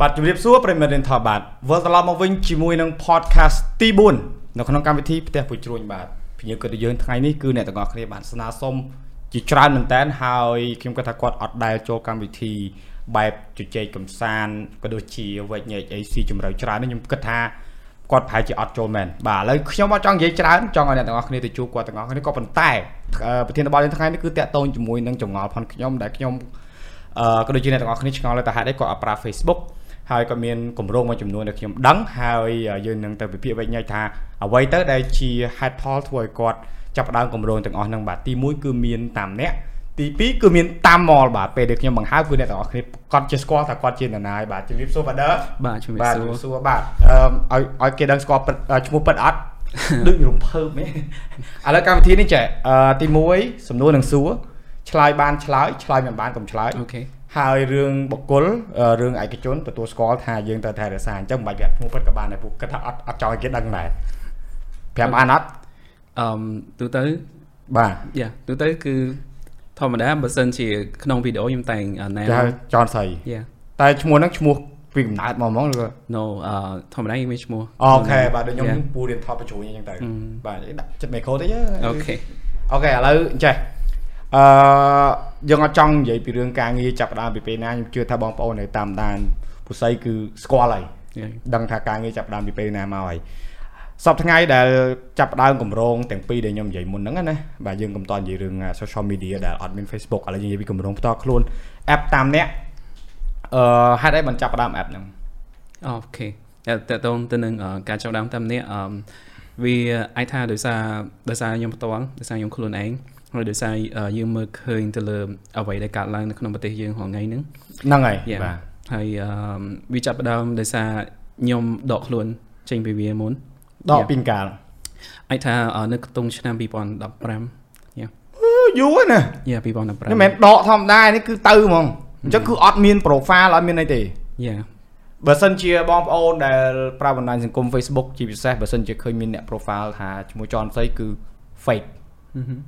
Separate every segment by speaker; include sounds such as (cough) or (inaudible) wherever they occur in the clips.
Speaker 1: បាទជម្រាបសួរប្រិមត្តរៀនថតបាទវិលត្រឡប់មកវិញជាមួយនឹង podcast ទី4នៅក្នុងកម្មវិធីផ្ទះពុជជ្រួញបាទភ្ញៀវកិត្តិយើងថ្ងៃនេះគឺអ្នកទាំងអស់គ្នាបានស្នើសុំជាច្រើនមែនតើហើយខ្ញុំគាត់ថាគាត់អត់ដែលចូលកម្មវិធីបែបជជែកកំសាន្តក៏ដូចជាវិច្ញែកអីស៊ីជម្រៅច្រើននេះខ្ញុំគិតថាគាត់ប្រហែលជាអត់ចូលមែនបាទឥឡូវខ្ញុំអត់ចង់និយាយច្រើនចង់ឲ្យអ្នកទាំងអស់គ្នាទៅជួបគាត់ទាំងអស់គ្នាក៏ប៉ុន្តែអឺប្រធានបទយើងថ្ងៃនេះគឺតាក់ទងជាមួយនឹងចងល់ផនខ្ញុំដែលខ្ញុំ អឺក៏ដូចជាអ្នកទាំងអស់គ្នាឆ្ងល់តែហេតុអីគាត់អត់ប្រើ Facebook ហើយក៏មានគម្រោងមួយចំនួនដែលខ្ញុំដឹងហើយយើងនឹងទៅពិភាក្សាវិញញែកថាអ្វីទៅដែលជាហេតុផលធ្វើឲ្យគាត់ចាប់ផ្ដើមគម្រោងទាំងអស់ហ្នឹងបាទទី1គឺមានតាមអ្នកទី2គឺមានតាមម៉លបាទពេលដែលខ្ញុំបង្ហើបគឺអ្នកទាំងអស់គ្នាគាត់ជាស្គាល់ថាគាត់ជានរណាយបាទជំរាបសួរបាទដឺ
Speaker 2: បាទជំរា
Speaker 1: បាទ ទ
Speaker 2: សួ
Speaker 1: ជំ
Speaker 2: រ
Speaker 1: រាបសួរបាទអឺឲ្យឲ្យគេដឹងស្គាល់ពិតអឺឈ្មោះពិតអ
Speaker 2: (laughs)
Speaker 1: ត់ ដូចរំភើបហ៎ឥឡូវកម្មវិធីនេះចេះអឺទី1សំណួរនឹងសួរឆ្លើយបានឆ្លើយឆ្លើយមិនបានកុំឆ្លើយ
Speaker 2: អូខេ
Speaker 1: ហើយរឿងបុគ្គលអឺរឿងឯកជនទទួលស្គាល់ថាយើងត្រូវថែរក្សាអញ្ចឹងមិនបាច់ប្រាប់ឈ្មោះពិតក៏បានដែរពួកគាត់ថាអត់អត់ចង់ឲ្យគេដឹងដែរប្រាប់បានអត់
Speaker 2: អឺមទូទៅ
Speaker 1: បាទ
Speaker 2: យ៉ាទូទៅគឺធម្មតាបើសិនជាក្នុងវីដេអូខ្ញុំតែងណា
Speaker 1: គេហៅចនស្រី
Speaker 2: យ៉ា
Speaker 1: តែឈ្មោះហ្នឹងឈ្មោះពីកំណើតមកហ្មងឬក៏
Speaker 2: no អឺធម្មតាយើងមានឈ្មោះ
Speaker 1: អូខេបាទដូចខ្ញុំ
Speaker 2: Yeah.
Speaker 1: ពូរៀនថតបញ្ជួយអញ្ចឹងទៅ
Speaker 2: អឺ
Speaker 1: បាទដាក់ចិត្តមីក្រូតិចយើ
Speaker 2: អូខេ
Speaker 1: អូខេឥឡូវអញ្ចេះអឺយើងអត់ចង់និយាយពីរឿងការងារចាប់ផ្ដើមពីពេលណាខ្ញុំជឿថាបងប្អូននៅតាមដានពុស័យគឺស្គាល់ហើយ
Speaker 2: យ៉ា
Speaker 1: ដឹងថាការងារចាប់ផ្ដើមពីពេលណាមកហើយសប្តាហ៍ថ្ងៃដែលចាប់ផ្ដើមគម្រោងទាំងពីរដែលខ្ញុំនិយាយមុនហ្នឹងណាបាទយើងកំតនិយាយរឿងអា social media ដែលអត់មាន Facebook ឥឡូវយើងនិយាយពីគម្រោងផ្ទាល់ខ្លួន app តាមអ្នកអឺហេតុអីបានចាប់ផ្ដើម app ហ្នឹង
Speaker 2: អូខេតែតើតងទៅនឹងអឺការចាប់ដើមតាមនេះអឺមវាអាចថាដោយសារដោយសារខ្ញុំផ្ទាល់ដោយសារខ្ញុំខ្លួនឯងហើយដោយសារអឺយើងមើលឃើញទៅលើអ្វីដែលកើតឡើងនៅក្នុងប្រទេសយើងរាល់ថ្ងៃហ្នឹង
Speaker 1: ហ្នឹងហើយ
Speaker 2: Yeah.
Speaker 1: បាទ
Speaker 2: ហើយអឺមវាចាប់ផ្ដើមដោយសារខ្ញុំដកខ្លួនចេញពីវាមុន
Speaker 1: ដកពីកាល
Speaker 2: អាចថាអឺនៅខ្ទង់ឆ្នាំ2015យ៉ា
Speaker 1: យូរណាស់
Speaker 2: យ៉ា
Speaker 1: នេះមិន
Speaker 2: 2015
Speaker 1: មែនដកធម្មតានេះគឺទៅហ្មងអញ្ចឹងគឺអត់មាន profile អត់មានអីទេ
Speaker 2: យ៉ា
Speaker 1: បើសិនជាបងប្អូនដែលប្រើបណ្ដាញសង្គម Facebook ជាពិសេសបើសិនជាឃើញមានអ្នក profile ថាឈ្មោះចនស្រីគឺ fake
Speaker 2: ហឹមហឹម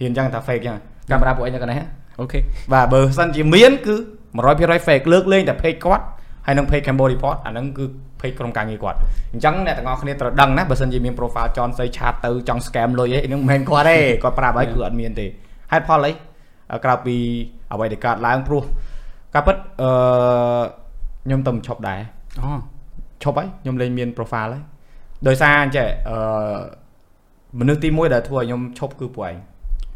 Speaker 1: ហ៊ានចឹងថា fake ចឹងកាមេរ៉ាពួកអីនៅកណ្ដាល
Speaker 2: អូខេ
Speaker 1: បាទបើសិនជាមានគឺ100% fake លើកលែងតែ page គាត់ហើយនឹង page Cambodia Report អាហ្នឹងគឺ page ក្រុមការងារគាត់អញ្ចឹងអ្នកទាំងអស់គ្នាត្រូវដឹងណាបើសិនជាមាន profile ចនស្រីឆាតទៅចង់ scam លុយអីហ្នឹងមិនមែនគាត់ទេគាត់ប្រាប់ហើយគឺអត់មានទេហេតុផលអីក្រៅពីអ្វីដែលកើតឡើងព្រោះការពិតអឺខ្ញុំទៅមិនឈប់ដែរ
Speaker 2: អូ
Speaker 1: ឈប់ហើយខ្ញុំលែងមាន profile ហើយដោយសារអញ្ចឹងអឺមនុស្សទី1ដែលធ្វើឲ្យខ្ញុំឈប់គឺពួកឯង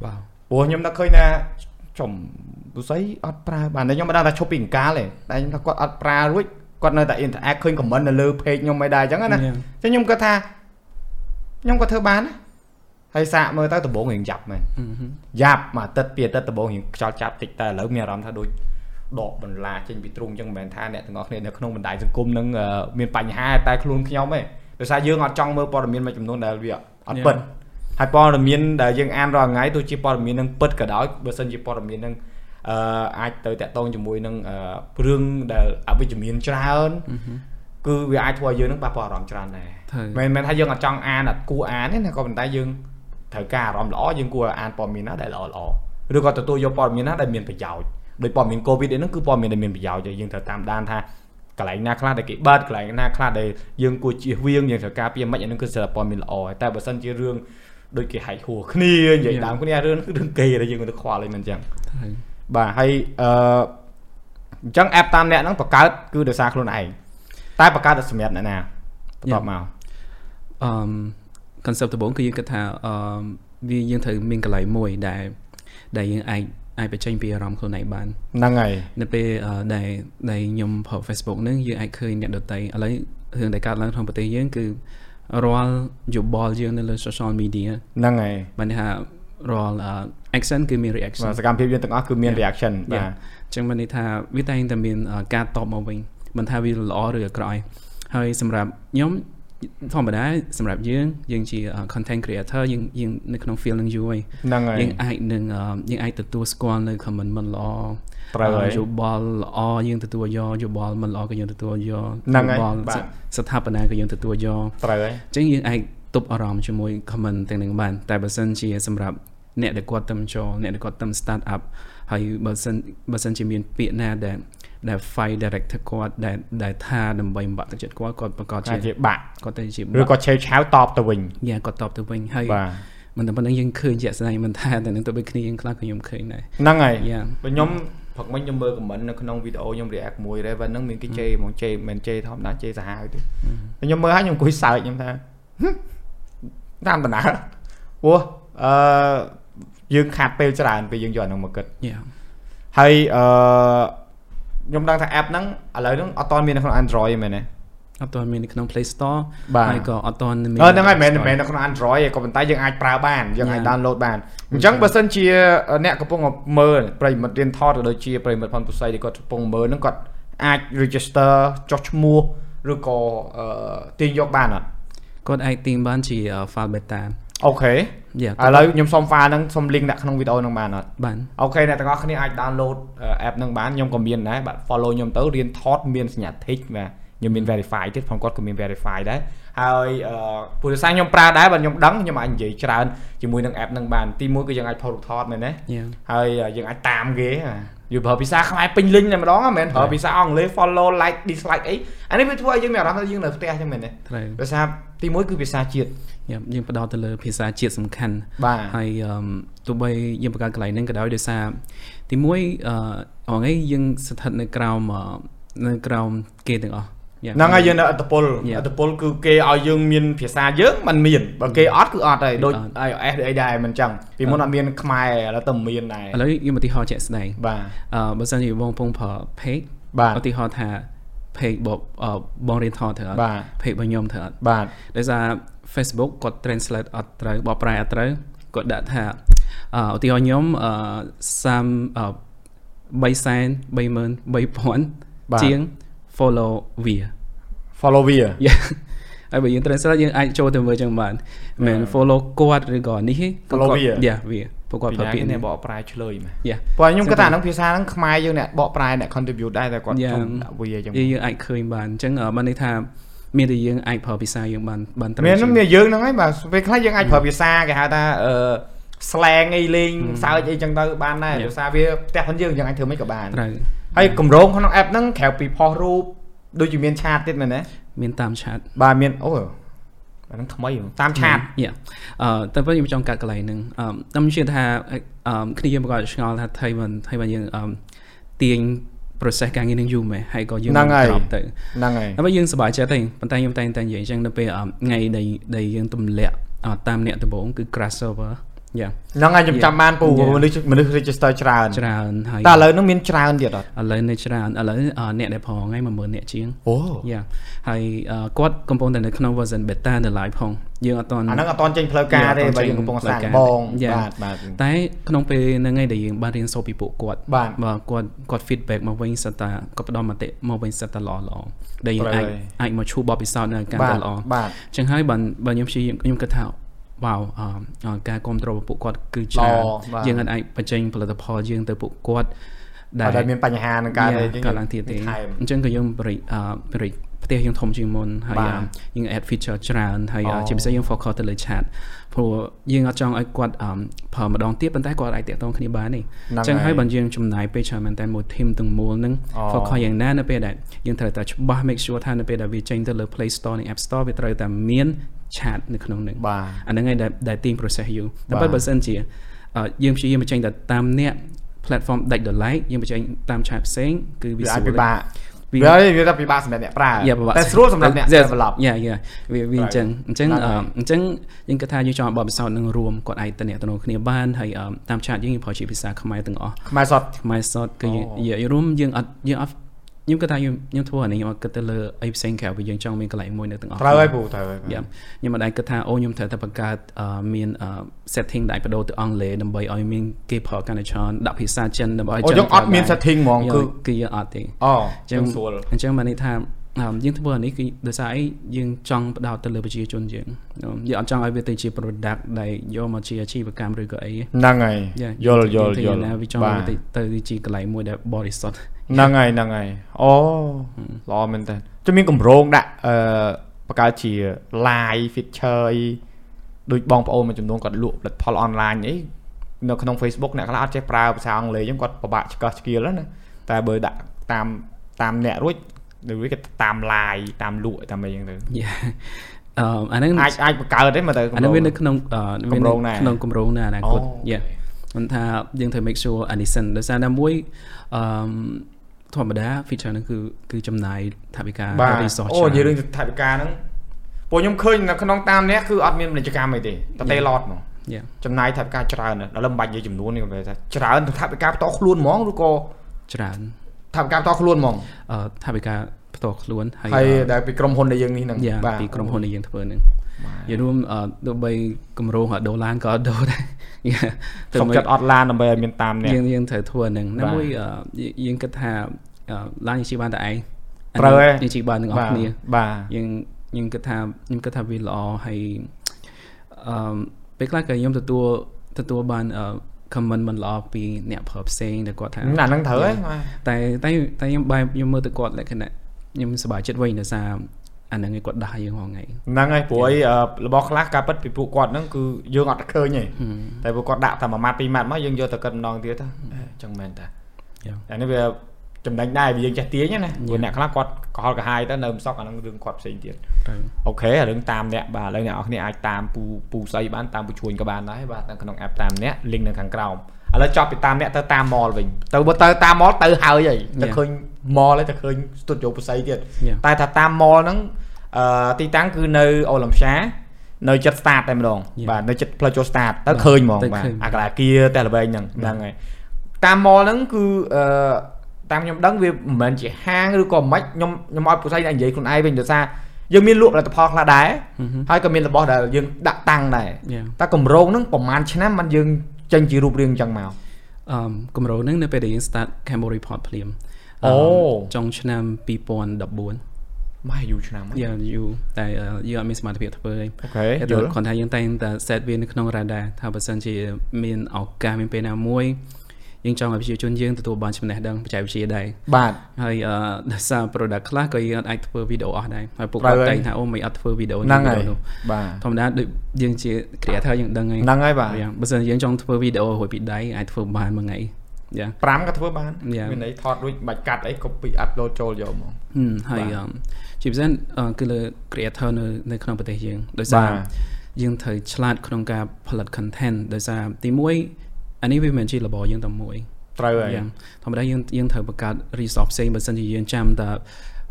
Speaker 2: វ៉ាវ
Speaker 1: ព្រោះខ្ញុំដល់ឃើញថាចំពុស័យអត់ប្រើបានតែខ្ញុំមិនដឹងថាឈប់ពីអង្ការទេតែខ្ញុំថាគាត់អត់ប្រើរួចគាត់នៅតែ interact ឃើញ comment នៅលើ page ខ្ញុំមិនដែរអញ្ចឹងណា
Speaker 2: Yeah.
Speaker 1: តែខ្ញុំគាត់ថាខ្ញុំក៏ធ្វើបានដែរហើយសាកមើលទៅដំបងរៀងយ៉ាប់មែន
Speaker 2: ហឹមហឹម
Speaker 1: យ៉ាប់មួយអាទិត្យពីរអាទិត្យដំបងរៀងខ្យល់ចាប់តិចតែឥឡូវមានអារម្មណ៍ថាដូចដកបន្លាចេញពីទ្រូងអញ្ចឹងមិនមែនថាអ្នកទាំងអស់គ្នានៅក្នុងបណ្ដាញសង្គមនឹងអឺមានបញ្ហាតែខ្លួនខ្ញុំទេដោយសារយើងអត់ចង់មើលព័ត៌មានមួយចំនួនដែលវាអត់ពិតហើយព័ត៌មានដែលយើងអានរាល់ថ្ងៃទោះជាព័ត៌មាននឹងពិតក៏ដោយបើសិនជាព័ត៌មាននឹងអឺអាចទៅតាក់ទងជាមួយនឹងអឺរឿងដែលអវិជ្ជមានច្រើនគឺវាអាចធ្វើឲ្យយើងនឹងប៉ះពាល់អារម្មណ៍ច្រើនដែរ
Speaker 2: ត្រូវ
Speaker 1: មិនមែនថាយើងអត់ចង់អានអត់គួរអានទេណាក៏ប៉ុន្តែយើងត្រូវការអារម្មណ៍ល្អយើងគួរអានព័ត៌មានណាដែលល្អល្អឬក៏ទទួលយកព័ត៌មានណាដែលមានប្រយោជន៍ដោយព័ត៌មានកូវីដនេះគឺព័ត៌មានដែលមានប្រយោជន៍ហើយយើងត្រូវតាមដានថាកន្លែងណាខ្លះដែលគេបាត់កន្លែងណាខ្លះដែលយើងគួរជៀសវាងយើងត្រូវការពារមិនអានេះគឺសារព័ត៌មានល្អហើយតែបើសិនជារឿងដូចគេហែកហួរគ្នានិយាយដើមគ្នារឿងគឺរឿងគេដែលយើងទៅខ្វល់អីមិនអញ្ចឹង
Speaker 2: ត្រូវ
Speaker 1: បាទហើយអឺអញ្ចឹង app តាមអ្នកហ្នឹងបង្កើតគឺដោយសារខ្លួនឯងតែបង្កើតសម្រាប់អ្នកណាបន្ទាប់មក
Speaker 2: អឺម concept ដំបូងគឺយើងគិតថាអឺមវាយើងត្រូវមានកន្លែងមួយដែលដែលយើងអាចអាចបញ្ចេញពីអារម្មណ៍ខ្លួនឯងបាន
Speaker 1: ហ្នឹងហើយ
Speaker 2: នៅពេលអឺដែលដែលខ្ញុំប្រើ Facebook ហ្នឹងយើងអាចឃើញអ្នកដទៃឥឡូវរឿងដែលកើតឡើងក្នុងប្រទេសយើងគឺរាល់យោបល់យើងនៅលើ social media
Speaker 1: ហ្នឹងហើយ
Speaker 2: បានន័យថារាល់អឺ action គឺមាន reaction
Speaker 1: បាទសកម្មភាពយើងទាំងអស់គឺមាន reaction បាទ ទ
Speaker 2: បាអញ្ចឹងបានន័យថាវាតែងតែមានអឺការតបមកវិញមិនថាវាល្អឬអាក្រក់ឯងហើយសម្រាប់ខ្ញុំធម្មតាសម្រាប់យើងយើងជាអឺ content creator យើងយើងនៅក្នុង field នឹងយូរហើយ
Speaker 1: ហ្នឹងហើយ
Speaker 2: យើងអាចនឹងអឺយើងអាចទទួលស្គាល់នៅ comment មិនល្អ
Speaker 1: ត្រូវហើយ
Speaker 2: អឺយោបល់ល្អយើងទទួលយកយោបល់មិនល្អក៏យើងទទួលយក
Speaker 1: ហ្នឹងហើយ
Speaker 2: យោល
Speaker 1: បាទ
Speaker 2: ស្ថាបនាក៏យើងទទួលយក
Speaker 1: ត្រូវហើយ
Speaker 2: អញ្ចឹងយើងអាចទប់អារម្មណ៍ជាមួយ comment ទាំងហ្នឹងបាន តែបើសិនជាសម្រាប់អ្នកដែលគាត់ទំចូលអ្នកដែលគាត់ទំ start up ហើយបើសិនបើសិនជាមានពាក្យណាដែល ដែល fight director គាត់ដែលដែលថាដើម្បីបំបាក់ទឹកចិត្តគាត់គាត់ប្រកាស
Speaker 1: ថា
Speaker 2: ជា
Speaker 1: ជាបាក់
Speaker 2: គាត់ទៅជា
Speaker 1: ឬក៏ឆេវឆាវតបទៅវិញ
Speaker 2: យ៉ាគាត់តបទៅវិញហើយ
Speaker 1: បាទ
Speaker 2: មិនតែប៉ុណ្្នឹងយើងឃើញជាក់ស្ដែងមិនថាតែនឹងទៅដូចគ្នាយើងខ្លះក៏ខ្ញុំឃើញដែរ
Speaker 1: ហ្នឹងហើយ
Speaker 2: យ៉ា
Speaker 1: បើខ្ញុំព្រឹកមិញខ្ញុំមើល comment នៅក្នុងវីដេអូខ្ញុំ react មួយ Raven ហ្នឹងមានគេជេរហ្មងជេរមិនជេរធម្មតាជេរសាហាវទេតែខ្ញុំមើលហើយខ្ញុំអង្គុយសើចខ្ញុំថាហឹមតាមដំណើរព្រោះអឺយើងខាត់ពេលច្រើនពេលយើងយកអាហ្នឹងមកគិត
Speaker 2: Yeah
Speaker 1: ហើយអឺខ្ញុំដឹងថា app ហ្នឹងឥឡូវហ្នឹងអត់តមាននៅក្នុង Android ទេមែនទេ
Speaker 2: អត់ទាន់មាននៅក្នុង Play Store
Speaker 1: បាទ
Speaker 2: ហើយក៏អត់ទាន់មាន
Speaker 1: អឺហ្នឹងហើយមិនមែនមិនមែ
Speaker 2: Store
Speaker 1: ននៅក្នុង Android ទេក៏ប៉ុន្តែយើងអាចប្រើបានយើងអាច
Speaker 2: Yeah.
Speaker 1: download បានអញ្ចឹងបើសិនជាអ្នកកំពុងមើលប្រិយមិត្តរៀនថតក៏ដូចជាប្រិយមិត្តផនពុស័យដែលគាត់កំពុងមើលហ្នឹងគាត់អាច register ចុះឈ្មោះឬក៏អឺទាញយកបានអត់
Speaker 2: គាត់អាចទាញបានជា file beta
Speaker 1: អូខេ
Speaker 2: Yeah
Speaker 1: ឥឡូវខ្ញុំសុំ file ហ្នឹងសុំ link ដាក់ក្នុងវីដេអូហ្នឹងបានអត់
Speaker 2: បាន
Speaker 1: អូខេអ្នកទាំងអស់គ្នាអាច download អឺ app ហ្នឹងបានខ្ញុំក៏មានដែរបាទ follow ខ្ញុំទៅរៀនថតមានសញ្ញាធីកបាទខ្ញុំមាន verify ទៀតផងគាត់ក៏មាន verify ដែរហើយអឺពុទ្ធសាសនាខ្ញុំប្រើដែរបាទខ្ញុំដឹងខ្ញុំអាចនិយាយច្រើនជាមួយនឹង app ហ្នឹងបានទីមួយគឺយើងអាចផុសរូបថតមែនទេ
Speaker 2: Yeah
Speaker 1: ហើយយើងអាចតាមគេអាយល់ប្រើភាសាខ្មែរពេញលេញតែម្ដងហ៎មិនមែនប្រើភាសាអង់គ្លេស follow like dislike អីអានេះវាធ្វើឲ្យយើងមានអារម្មណ៍ថាយើងនៅផ្ទះចឹងមែនទេ
Speaker 2: ត្រូវ
Speaker 1: ភាសាទីមួយគឺភាសាជាតិ
Speaker 2: Yeah យើងផ្ដោតទៅលើភាសាជាតិសំខាន់
Speaker 1: បាទ
Speaker 2: ហើយអឺមទោះបីយើងបង្កើតកន្លែងហ្នឹងក៏ដោយដោយសារទីមួយអឺថ្ងៃយើងស្ថិតនៅក្រោមអឺនៅក្រោមគេទាំងអស់ Yeah
Speaker 1: ហ្នឹងហើយយើងនៅអត្តពល
Speaker 2: យ៉ា
Speaker 1: អត្តពលគឺគេឲ្យយើងមានភាសាយើងมันមានបើគេអត់គឺអត់ហើយដូច
Speaker 2: អត់
Speaker 1: iOS ដូចអីដែរមិនចឹងពីមុនអត់មានខ្មែរឥឡូវតែមានដែរ
Speaker 2: ឥឡូវយើងឧទាហរណ៍ជាក់ស្ដែង
Speaker 1: បាទ
Speaker 2: អឺបើសិនជាបងពងប្រើ page
Speaker 1: បាទ
Speaker 2: ឧទាហរណ៍ថា page បងអឺបងរៀនថតធ្វើអត់
Speaker 1: បាទ
Speaker 2: page របស់ខ្ញុំធ្វើអត់
Speaker 1: បាទ
Speaker 2: ដោយសារ Facebook គាត់ translate អត់ត្រូវបកប្រែអត់ត្រូវគាត់ដាក់ថាអឧទាហរណ៍ខ្ញុំអសាម3សែន33000ជាង follow វា
Speaker 1: follow we
Speaker 2: (laughs) ហើយបើយើង translate យើងអាចចូលទៅមើលចឹងបានមិនមែន follow គាត់ឬក៏នេះទេ
Speaker 1: Follow វា
Speaker 2: យ៉ាវាពួកគាត់ប្រើពាក្យនេះ
Speaker 1: បកប្រែឆ្លើយមក
Speaker 2: យ៉ា
Speaker 1: ព្រោះខ្ញុំគិតថាហ្នឹងភាសាហ្នឹងខ្មែរយើងអ្នកបកប្រែអ្នក contribute ដែរតែគាត់
Speaker 2: យ៉ា
Speaker 1: ធំដាក់ we ចឹង
Speaker 2: យើងយើងអាចឃើញបានអញ្ចឹងអបានន័យថាមានតែយើងអាចប្រើភាសាយើងបានបានត្រូវ
Speaker 1: មាន
Speaker 2: ជាង
Speaker 1: មានយើងហ្នឹងហើយបាទពេលខ្លះយើងអាចប្រើភាសាគេហៅថាអឺ slang អីលេងសើចអីចឹងទៅបានដែរ
Speaker 2: Yeah.
Speaker 1: ភាសាវាផ្ទះខ្លួនយើងយើងអាចធ្វើមិនក៏បាន
Speaker 2: ត្រូវ
Speaker 1: ហើយកម្រងក្នុង app ហ្នឹងក្រៅពីផុសរូបដូចជាមានឆាតទៀតមែនទេ
Speaker 2: មានតាមឆាត
Speaker 1: បាទមានអូអាហ្នឹងថ្មីហ៎តាមឆាត
Speaker 2: យេអឺតែពេលខ្ញុំចង់កាត់កន្លែងហ្នឹងអឺខ្ញុំជឿថាអឺគ្នាយើងប្រកបឆ្ងល់ថាថៃមិនថៃមិនយើងអឺទាញ process ការងារនឹងយូរមែនហើយក៏យើង
Speaker 1: ហ្នឹងហើយ
Speaker 2: ត្រប់ទៅ
Speaker 1: (laughs) ហ្នឹងហើយ
Speaker 2: តែពេលយើងសប្បាយចិត្តទេប៉ុន្តែខ្ញុំតែងតែនិយាយអញ្ចឹងនៅពេលអឺថ្ងៃដែលដែលយើងទម្លាក់អឺតាមអ្នកដំបូងគឺ crash server យ៉ាង
Speaker 1: ហ្នឹងហើយខ្ញុំចាំបានពូមនុស្សមនុស្ស register ច្រើន
Speaker 2: ច្រើនហើយ
Speaker 1: តែឥឡូវហ្នឹងមានច្រើនទៀតអត់
Speaker 2: ឥឡូវនៅច្រើនឥឡូវអឺអ្នកដែលប្រងហ្នឹង10000អ្នកជាង
Speaker 1: អូ
Speaker 2: យ៉ាងហើយអឺគាត់កំពុងតែនៅក្នុង version beta នៅ live ផងយើងអត់ទាន់
Speaker 1: អាហ្នឹងអត់តន់ចេញផ្លូវការទេបើយើងកំពុងសាកល្បងបាទបាទ
Speaker 2: តែក្នុងពេលហ្នឹងឯងដែលយើងបានរៀនសូត្រពីពួកគាត់
Speaker 1: បាទ
Speaker 2: បាទគាត់គាត់ feedback មកវិញសិតតាគាត់ផ្ដល់មតិមកវិញសិតតាល្អល្អដែលយើង
Speaker 1: ត្រូវហើយ
Speaker 2: អាចអាចមកឈូបបទពិសោធន៍នៅការ
Speaker 1: បា
Speaker 2: តែ
Speaker 1: ទ
Speaker 2: ល្អ
Speaker 1: បាទ
Speaker 2: ចឹងហើយបានបើខ្ញុំព្យាយាមខ្ញុំគិតថាវ៉ាវអឺការគ្រប់គ្រងរបស់ពួកគាត់គឺ
Speaker 1: ល្អ
Speaker 2: ច្រើន
Speaker 1: បាទ
Speaker 2: យើងអាចបញ្ចេញផលិតផលយើងទៅពួកគាត់
Speaker 1: អត់ដែលមានបញ្ហានឹងការ
Speaker 2: យ៉ា
Speaker 1: អី
Speaker 2: កើតឡើងទៀតទេ
Speaker 1: ថែម (laughs)
Speaker 2: អញ្ចឹងក៏យើងបរិអឺបរិផ្ទះយើងធំជាងមុនហើយ
Speaker 1: បាទ
Speaker 2: អឺយើង add feature ច្រើនហើយអឺ
Speaker 1: អូ
Speaker 2: ជាពិសេសយើង focus ទៅលើ chat ព្រោះយើងអត់ចង់ឲ្យគាត់អឺប្រើម្ដងទៀតប៉ុន្តែគាត់អាចតាក់ទងគ្នាបានទេ
Speaker 1: ហ្នឹង
Speaker 2: អញ្ចឹង
Speaker 1: ហើ
Speaker 2: ហើយ យបើយើងចំណាយពេលច្រើនមែនតែមួយ team ទាំងមូលហ្នឹង
Speaker 1: អូ
Speaker 2: focus យ៉ាងណានៅពេលដែលយើងត្រូវតែច្បាស់ make sure ថានៅពេលដែលវាចេញទៅលើ Play Store និង App Store វាត្រូវតែមាន chat នៅក្នុងហ្នឹង
Speaker 1: បាទ
Speaker 2: អាហ្នឹងឯងដែលដែលទាញ process យូរតែ
Speaker 1: បា
Speaker 2: បើ
Speaker 1: ទ
Speaker 2: បើសិនជាអឺយើងព្យាយាមបញ្ចេញតែតាមអ្នក platform ដាច់ដោយឡែកយើងបញ្ចេញតាម chat ផ្សេងគឺវា
Speaker 1: វា
Speaker 2: ស្រួល
Speaker 1: អាចពិបាក
Speaker 2: វា
Speaker 1: វាវាថាពិបាកសម្រាប់អ្នកប្រើ
Speaker 2: យ៉ាពិបាក
Speaker 1: តែស្រួលសម្រាប់អ្នក develop
Speaker 2: យ៉ាយ៉ាវាវាអញ្ចឹងអញ្ចឹង
Speaker 1: បាទ
Speaker 2: អឺអញ្ចឹងយើងគិតថាយើងចង់ឲ្យបទពិសោធន៍នឹងរួមគាត់អាចតំណាក់តំណងគ្នាបានហើយអឺតាម chat យើងយើងប្រើជាភាសាខ្មែរទាំងអស់
Speaker 1: ខ្មែរសត
Speaker 2: ខ្មែរសតគឺយើងយើងរួមយើងអត់យើងអត់ខ្ញុំគិតថាខ្ញុំខ្ញុំធ្វើអានេះខ្ញុំអត់គិតទៅលើអីផ្សេងក្រៅពីយើងចង់មានកន្លែងមួយនៅទាំងអស់
Speaker 1: ត្រូវហើយពូត្រូវហើយ
Speaker 2: យ៉ាខ្ញុំមិនដែលគិតថាអូខ្ញុំត្រូវតែបង្កើតអឺមានអឺ setting ដែលបដូរទៅអង់គ្លេសដើម្បីឲ្យមានគេប្រើកាន់តែច្រើនដាក់ភាសាចិនដើម្បី
Speaker 1: អូ
Speaker 2: ឲ្យចិ
Speaker 1: យើងអត់មាន
Speaker 2: ប្រើបាន
Speaker 1: setting ហ្មង
Speaker 2: យើ
Speaker 1: គឺ
Speaker 2: គឺយើងអត់ទេ
Speaker 1: អូ
Speaker 2: អញ្ចឹ
Speaker 1: យើង
Speaker 2: ង
Speaker 1: ស្រួល
Speaker 2: អញ្ចឹងបានន័យថាអឺយើងធ្វើអានេះគឺដោយសារអីយើងចង់ផ្ដោតទៅលើប្រជាជនយើងយើងអត់ចង់ឲ្យវាទៅជា product ដែលយកមកជាអាជីវកម្មឬក៏អី
Speaker 1: ហ្នឹងហើយ
Speaker 2: ទេ
Speaker 1: យល់យល់យល់
Speaker 2: យើងណាវាចង់
Speaker 1: បា
Speaker 2: ឲ្យ
Speaker 1: ទ
Speaker 2: វាទៅទៅជាកន្លែងមួយដែលបរិសុទ្ធ (laughs)
Speaker 1: ហ្នឹងហើយហ្នឹងហើយអូល្អមែនតើចាំមានកម្រោងដាក់អឺបង្កើតជា live feature អីដូចបងប្អូនមួយចំនួនគាត់លក់ផលិតផលអនឡាញអីនៅក្នុង Facebook អ្នកខ្លះអត់ចេះប្រើភាសាអង់គ្លេសអញ្ចឹងគាត់ពិបាកឆ្កឹះឆ្កៀលណាតែបើដាក់ តាមតាមអ្នករួចឬគេតាម live តាមលក់តាមអីហ្នឹងទៅ
Speaker 2: យ៉ាអឺអាហ្នឹង
Speaker 1: អាចអាចបង្កើតទេមើលទៅ
Speaker 2: អាហ្នឹងវានៅក្នុងអឺ
Speaker 1: គ
Speaker 2: វា
Speaker 1: ម្រោងដែរ
Speaker 2: នៅក្នុងគម្រោងនៅអនាគត
Speaker 1: អូ
Speaker 2: យ៉ាមិនថាយើងត្រូវ make sure Anison ដោយសារតែមួយអឺធម្មតា feature ហ្នឹងគឺគឺចំណាយថវិកា
Speaker 1: បាទ
Speaker 2: resource
Speaker 1: អូនិយាយ
Speaker 2: ច្រើន
Speaker 1: រឿងថវិកាហ្នឹងពួកខ្ញុំឃើញនៅក្នុងតាមអ្នកគឺអត់មានពាណិជ្ជកម្មអីទេតែតែឡតហ្មង
Speaker 2: Yeah
Speaker 1: ចំណាយថវិកាច្រើនណាស់ដល់ឡឹមបាច់និយាយចំនួននេះគេថាច្រើនថវិកាផ្ទាល់ខ្លួនហ្មងឬក៏
Speaker 2: ច្រើន
Speaker 1: ថវិកាផ្ទាល់ខ្លួនហ្មង
Speaker 2: អឺថវិកាផ្ទាល់ខ្លួនហើយ
Speaker 1: ហើយ
Speaker 2: អឺ
Speaker 1: ដែលពីក្រុមហ៊ុនដែលយើងនេះហ្នឹង
Speaker 2: យ៉ាពីក្រុមហ៊ុនដែលយើងធ្វើហ្នឹងនិយាយរួមអឺទោះបីគម្រោងអត់ដុល្លារក៏អត់ដុលដែរ (laughs) យ៉ាទោះ
Speaker 1: សុំ
Speaker 2: បី
Speaker 1: ចិត្តអត់ឡានដើម្បីឲ្យមានតាមអ្នក
Speaker 2: យើងយើងត្រូវធ្វើអាហ្នឹង
Speaker 1: បា
Speaker 2: ណា
Speaker 1: ទ
Speaker 2: មួយអឺយយើងគិតថាអឺឡានយើងជិះបានតែឯង
Speaker 1: ត្រូវហើយ
Speaker 2: អាយើងជិះបានទាំងអស់គ្នា
Speaker 1: បាទ
Speaker 2: យើងយើងគិតថាខ្ញុំគិតថាវាល្អហើយអឺពេលខ្លះក៏ខ្ញុំទទួលទទួលបានអឺ comment មិនល្អពីអ្នកប្រើផ្សេងដែលគាត់ថា
Speaker 1: អាហ្នឹងត្រូវហើយបាទ
Speaker 2: តែតែតែខ្ញុំបែបខ្ញុំមើលទៅគាត់លក្ខណៈខ្ញុំសប្បាយចិត្តវិញដោយសារអាហ្នឹងឯងគាត់ដាស់យើងហងៃ
Speaker 1: ហ្នឹងហើយព្រួយអឺរបស់ខ្លះការពិតពីពួកគាត់ហ្នឹងគឺយើងអត់ឃើញទេតែពួកគាត់ដាក់តែមួយម៉ាត់ពីរម៉ាត់មកយើងយកទៅគិតម្ដងទៀតទៅអេចឹងមែនតា
Speaker 2: យ៉ា
Speaker 1: តែនេះវាចំណេញដែរវាយើងចេះទាញណាព្រោះអ្នកខ្លះគាត់កុហកកាហាយទៅនៅមិនសក់អាហ្នឹងរឿងគាត់ផ្សេងទៀត
Speaker 2: ត្រូវ
Speaker 1: អូខេអារឿងតាមអ្នកបាទឥឡូវអ្នកនរគ្នាអាចតាមពូពូស្អីបានតាមពូជួញក៏បានដែរបាទនៅក្នុង app តាមអ្នក link នៅខាងក្រោមឥឡូវចប់ពីតាមអ្នកទៅតាម mall វិញទៅបើទៅតាម mall ទៅហើយហើយទៅ
Speaker 2: Yeah.
Speaker 1: ឃើញ mall ហើយទៅឃើញ studio ពូស្អីទៀត
Speaker 2: Yeah.
Speaker 1: តែថាតាម mall ហ្នឹងអឺទីតាំងគឺនៅអូឡ িম্প យ៉ានៅចិត្ត start តែម្ដង
Speaker 2: Yeah.
Speaker 1: បាទនៅចិត្តផ្លូវចូល start ទៅឃើញហ្មង
Speaker 2: ទៅ
Speaker 1: បាទ
Speaker 2: ឃើញ
Speaker 1: អាកលាគារតែល្វែងហ្នឹងហ្នឹងហើយតាម mall ហ្នឹងគឺអឺតាមខ្ញុំដឹងវាមិនមែនជាហាងឬក៏មិនខ្ញុំខ្ញុំឲ្យពួកស្រីអ្នកនិយាយខ្លួនឯងវិញដោយសារយើងមានលក់ផលិតផលខ្លះដែរហើយក៏មានរបស់ដែលយើងដាក់តាំងដែរ
Speaker 2: យ៉ា
Speaker 1: តែកម្រងហ្នឹងប្រហែលឆ្នាំມັນយើងចេញជារូបរាងអញ្ចឹងមក
Speaker 2: អឺគម្រោងហ្នឹងនៅពេលដែលយើង start Cambo report ភ្លាម
Speaker 1: អូ
Speaker 2: ចុងឆ្នាំ2014
Speaker 1: មកអាយុឆ្នាំអូ
Speaker 2: យើងយូរតែអឺយើងអត់មានសមត្ថភាពធ្វើទេ
Speaker 1: ខេ
Speaker 2: តែ
Speaker 1: យ
Speaker 2: ដល់
Speaker 1: ល់
Speaker 2: គាត់ថាយើងតែងតែ set វានៅក្នុង radar ថាបើសិនជាមានឱកាសមានពេលណាមួយយើងចង់ឲ្យប្រជាជនយើងទទួលបានចំណេះដឹងបច្ចេកវិទ្យាដែរ
Speaker 1: បាទ
Speaker 2: ហើយអឺដោយសារ product ខ្លះក៏យើងអត់អាចធ្វើវីដេអូអស់ដែរហើយពួក
Speaker 1: ត្រូវហើ
Speaker 2: គាត់តែ
Speaker 1: យ
Speaker 2: ងថាអូមិនអត់ធ្វើវីដេអូ
Speaker 1: ហ្នឹងហើយ
Speaker 2: វីដេអូ
Speaker 1: បាទ
Speaker 2: ធម្មតាដូចយើងជា creator យើងដឹងហើយ
Speaker 1: ហ្នឹងហើយបាទ
Speaker 2: យ៉ាងបើសិនយើងចង់ធ្វើវីដេអូរួចពីដៃអាចធ្វើបានមួយថ្ងៃយ៉ា
Speaker 1: 5ក៏ធ្វើបាន
Speaker 2: Yeah.
Speaker 1: មានន័យថតរួចបាច់កាត់អី copy upload ចូលយកមក
Speaker 2: ហឹមហើយអឺជាពិសេសអឺគឺលើ creator នៅនៅក្នុងប្រទេសយើងដោយសារ
Speaker 1: បាទ
Speaker 2: យើងត្រូវឆ្លាតក្នុងការផលិត content ដោយសារទី1អានេះវាមិនមែនជារបរយើងតែមួយ
Speaker 1: ត្រូវហើយ
Speaker 2: យ៉ាងធម្មតាយើងយើងត្រូវបង្កើត resource ផ្សេងបើសិនជាយើងចាំតែ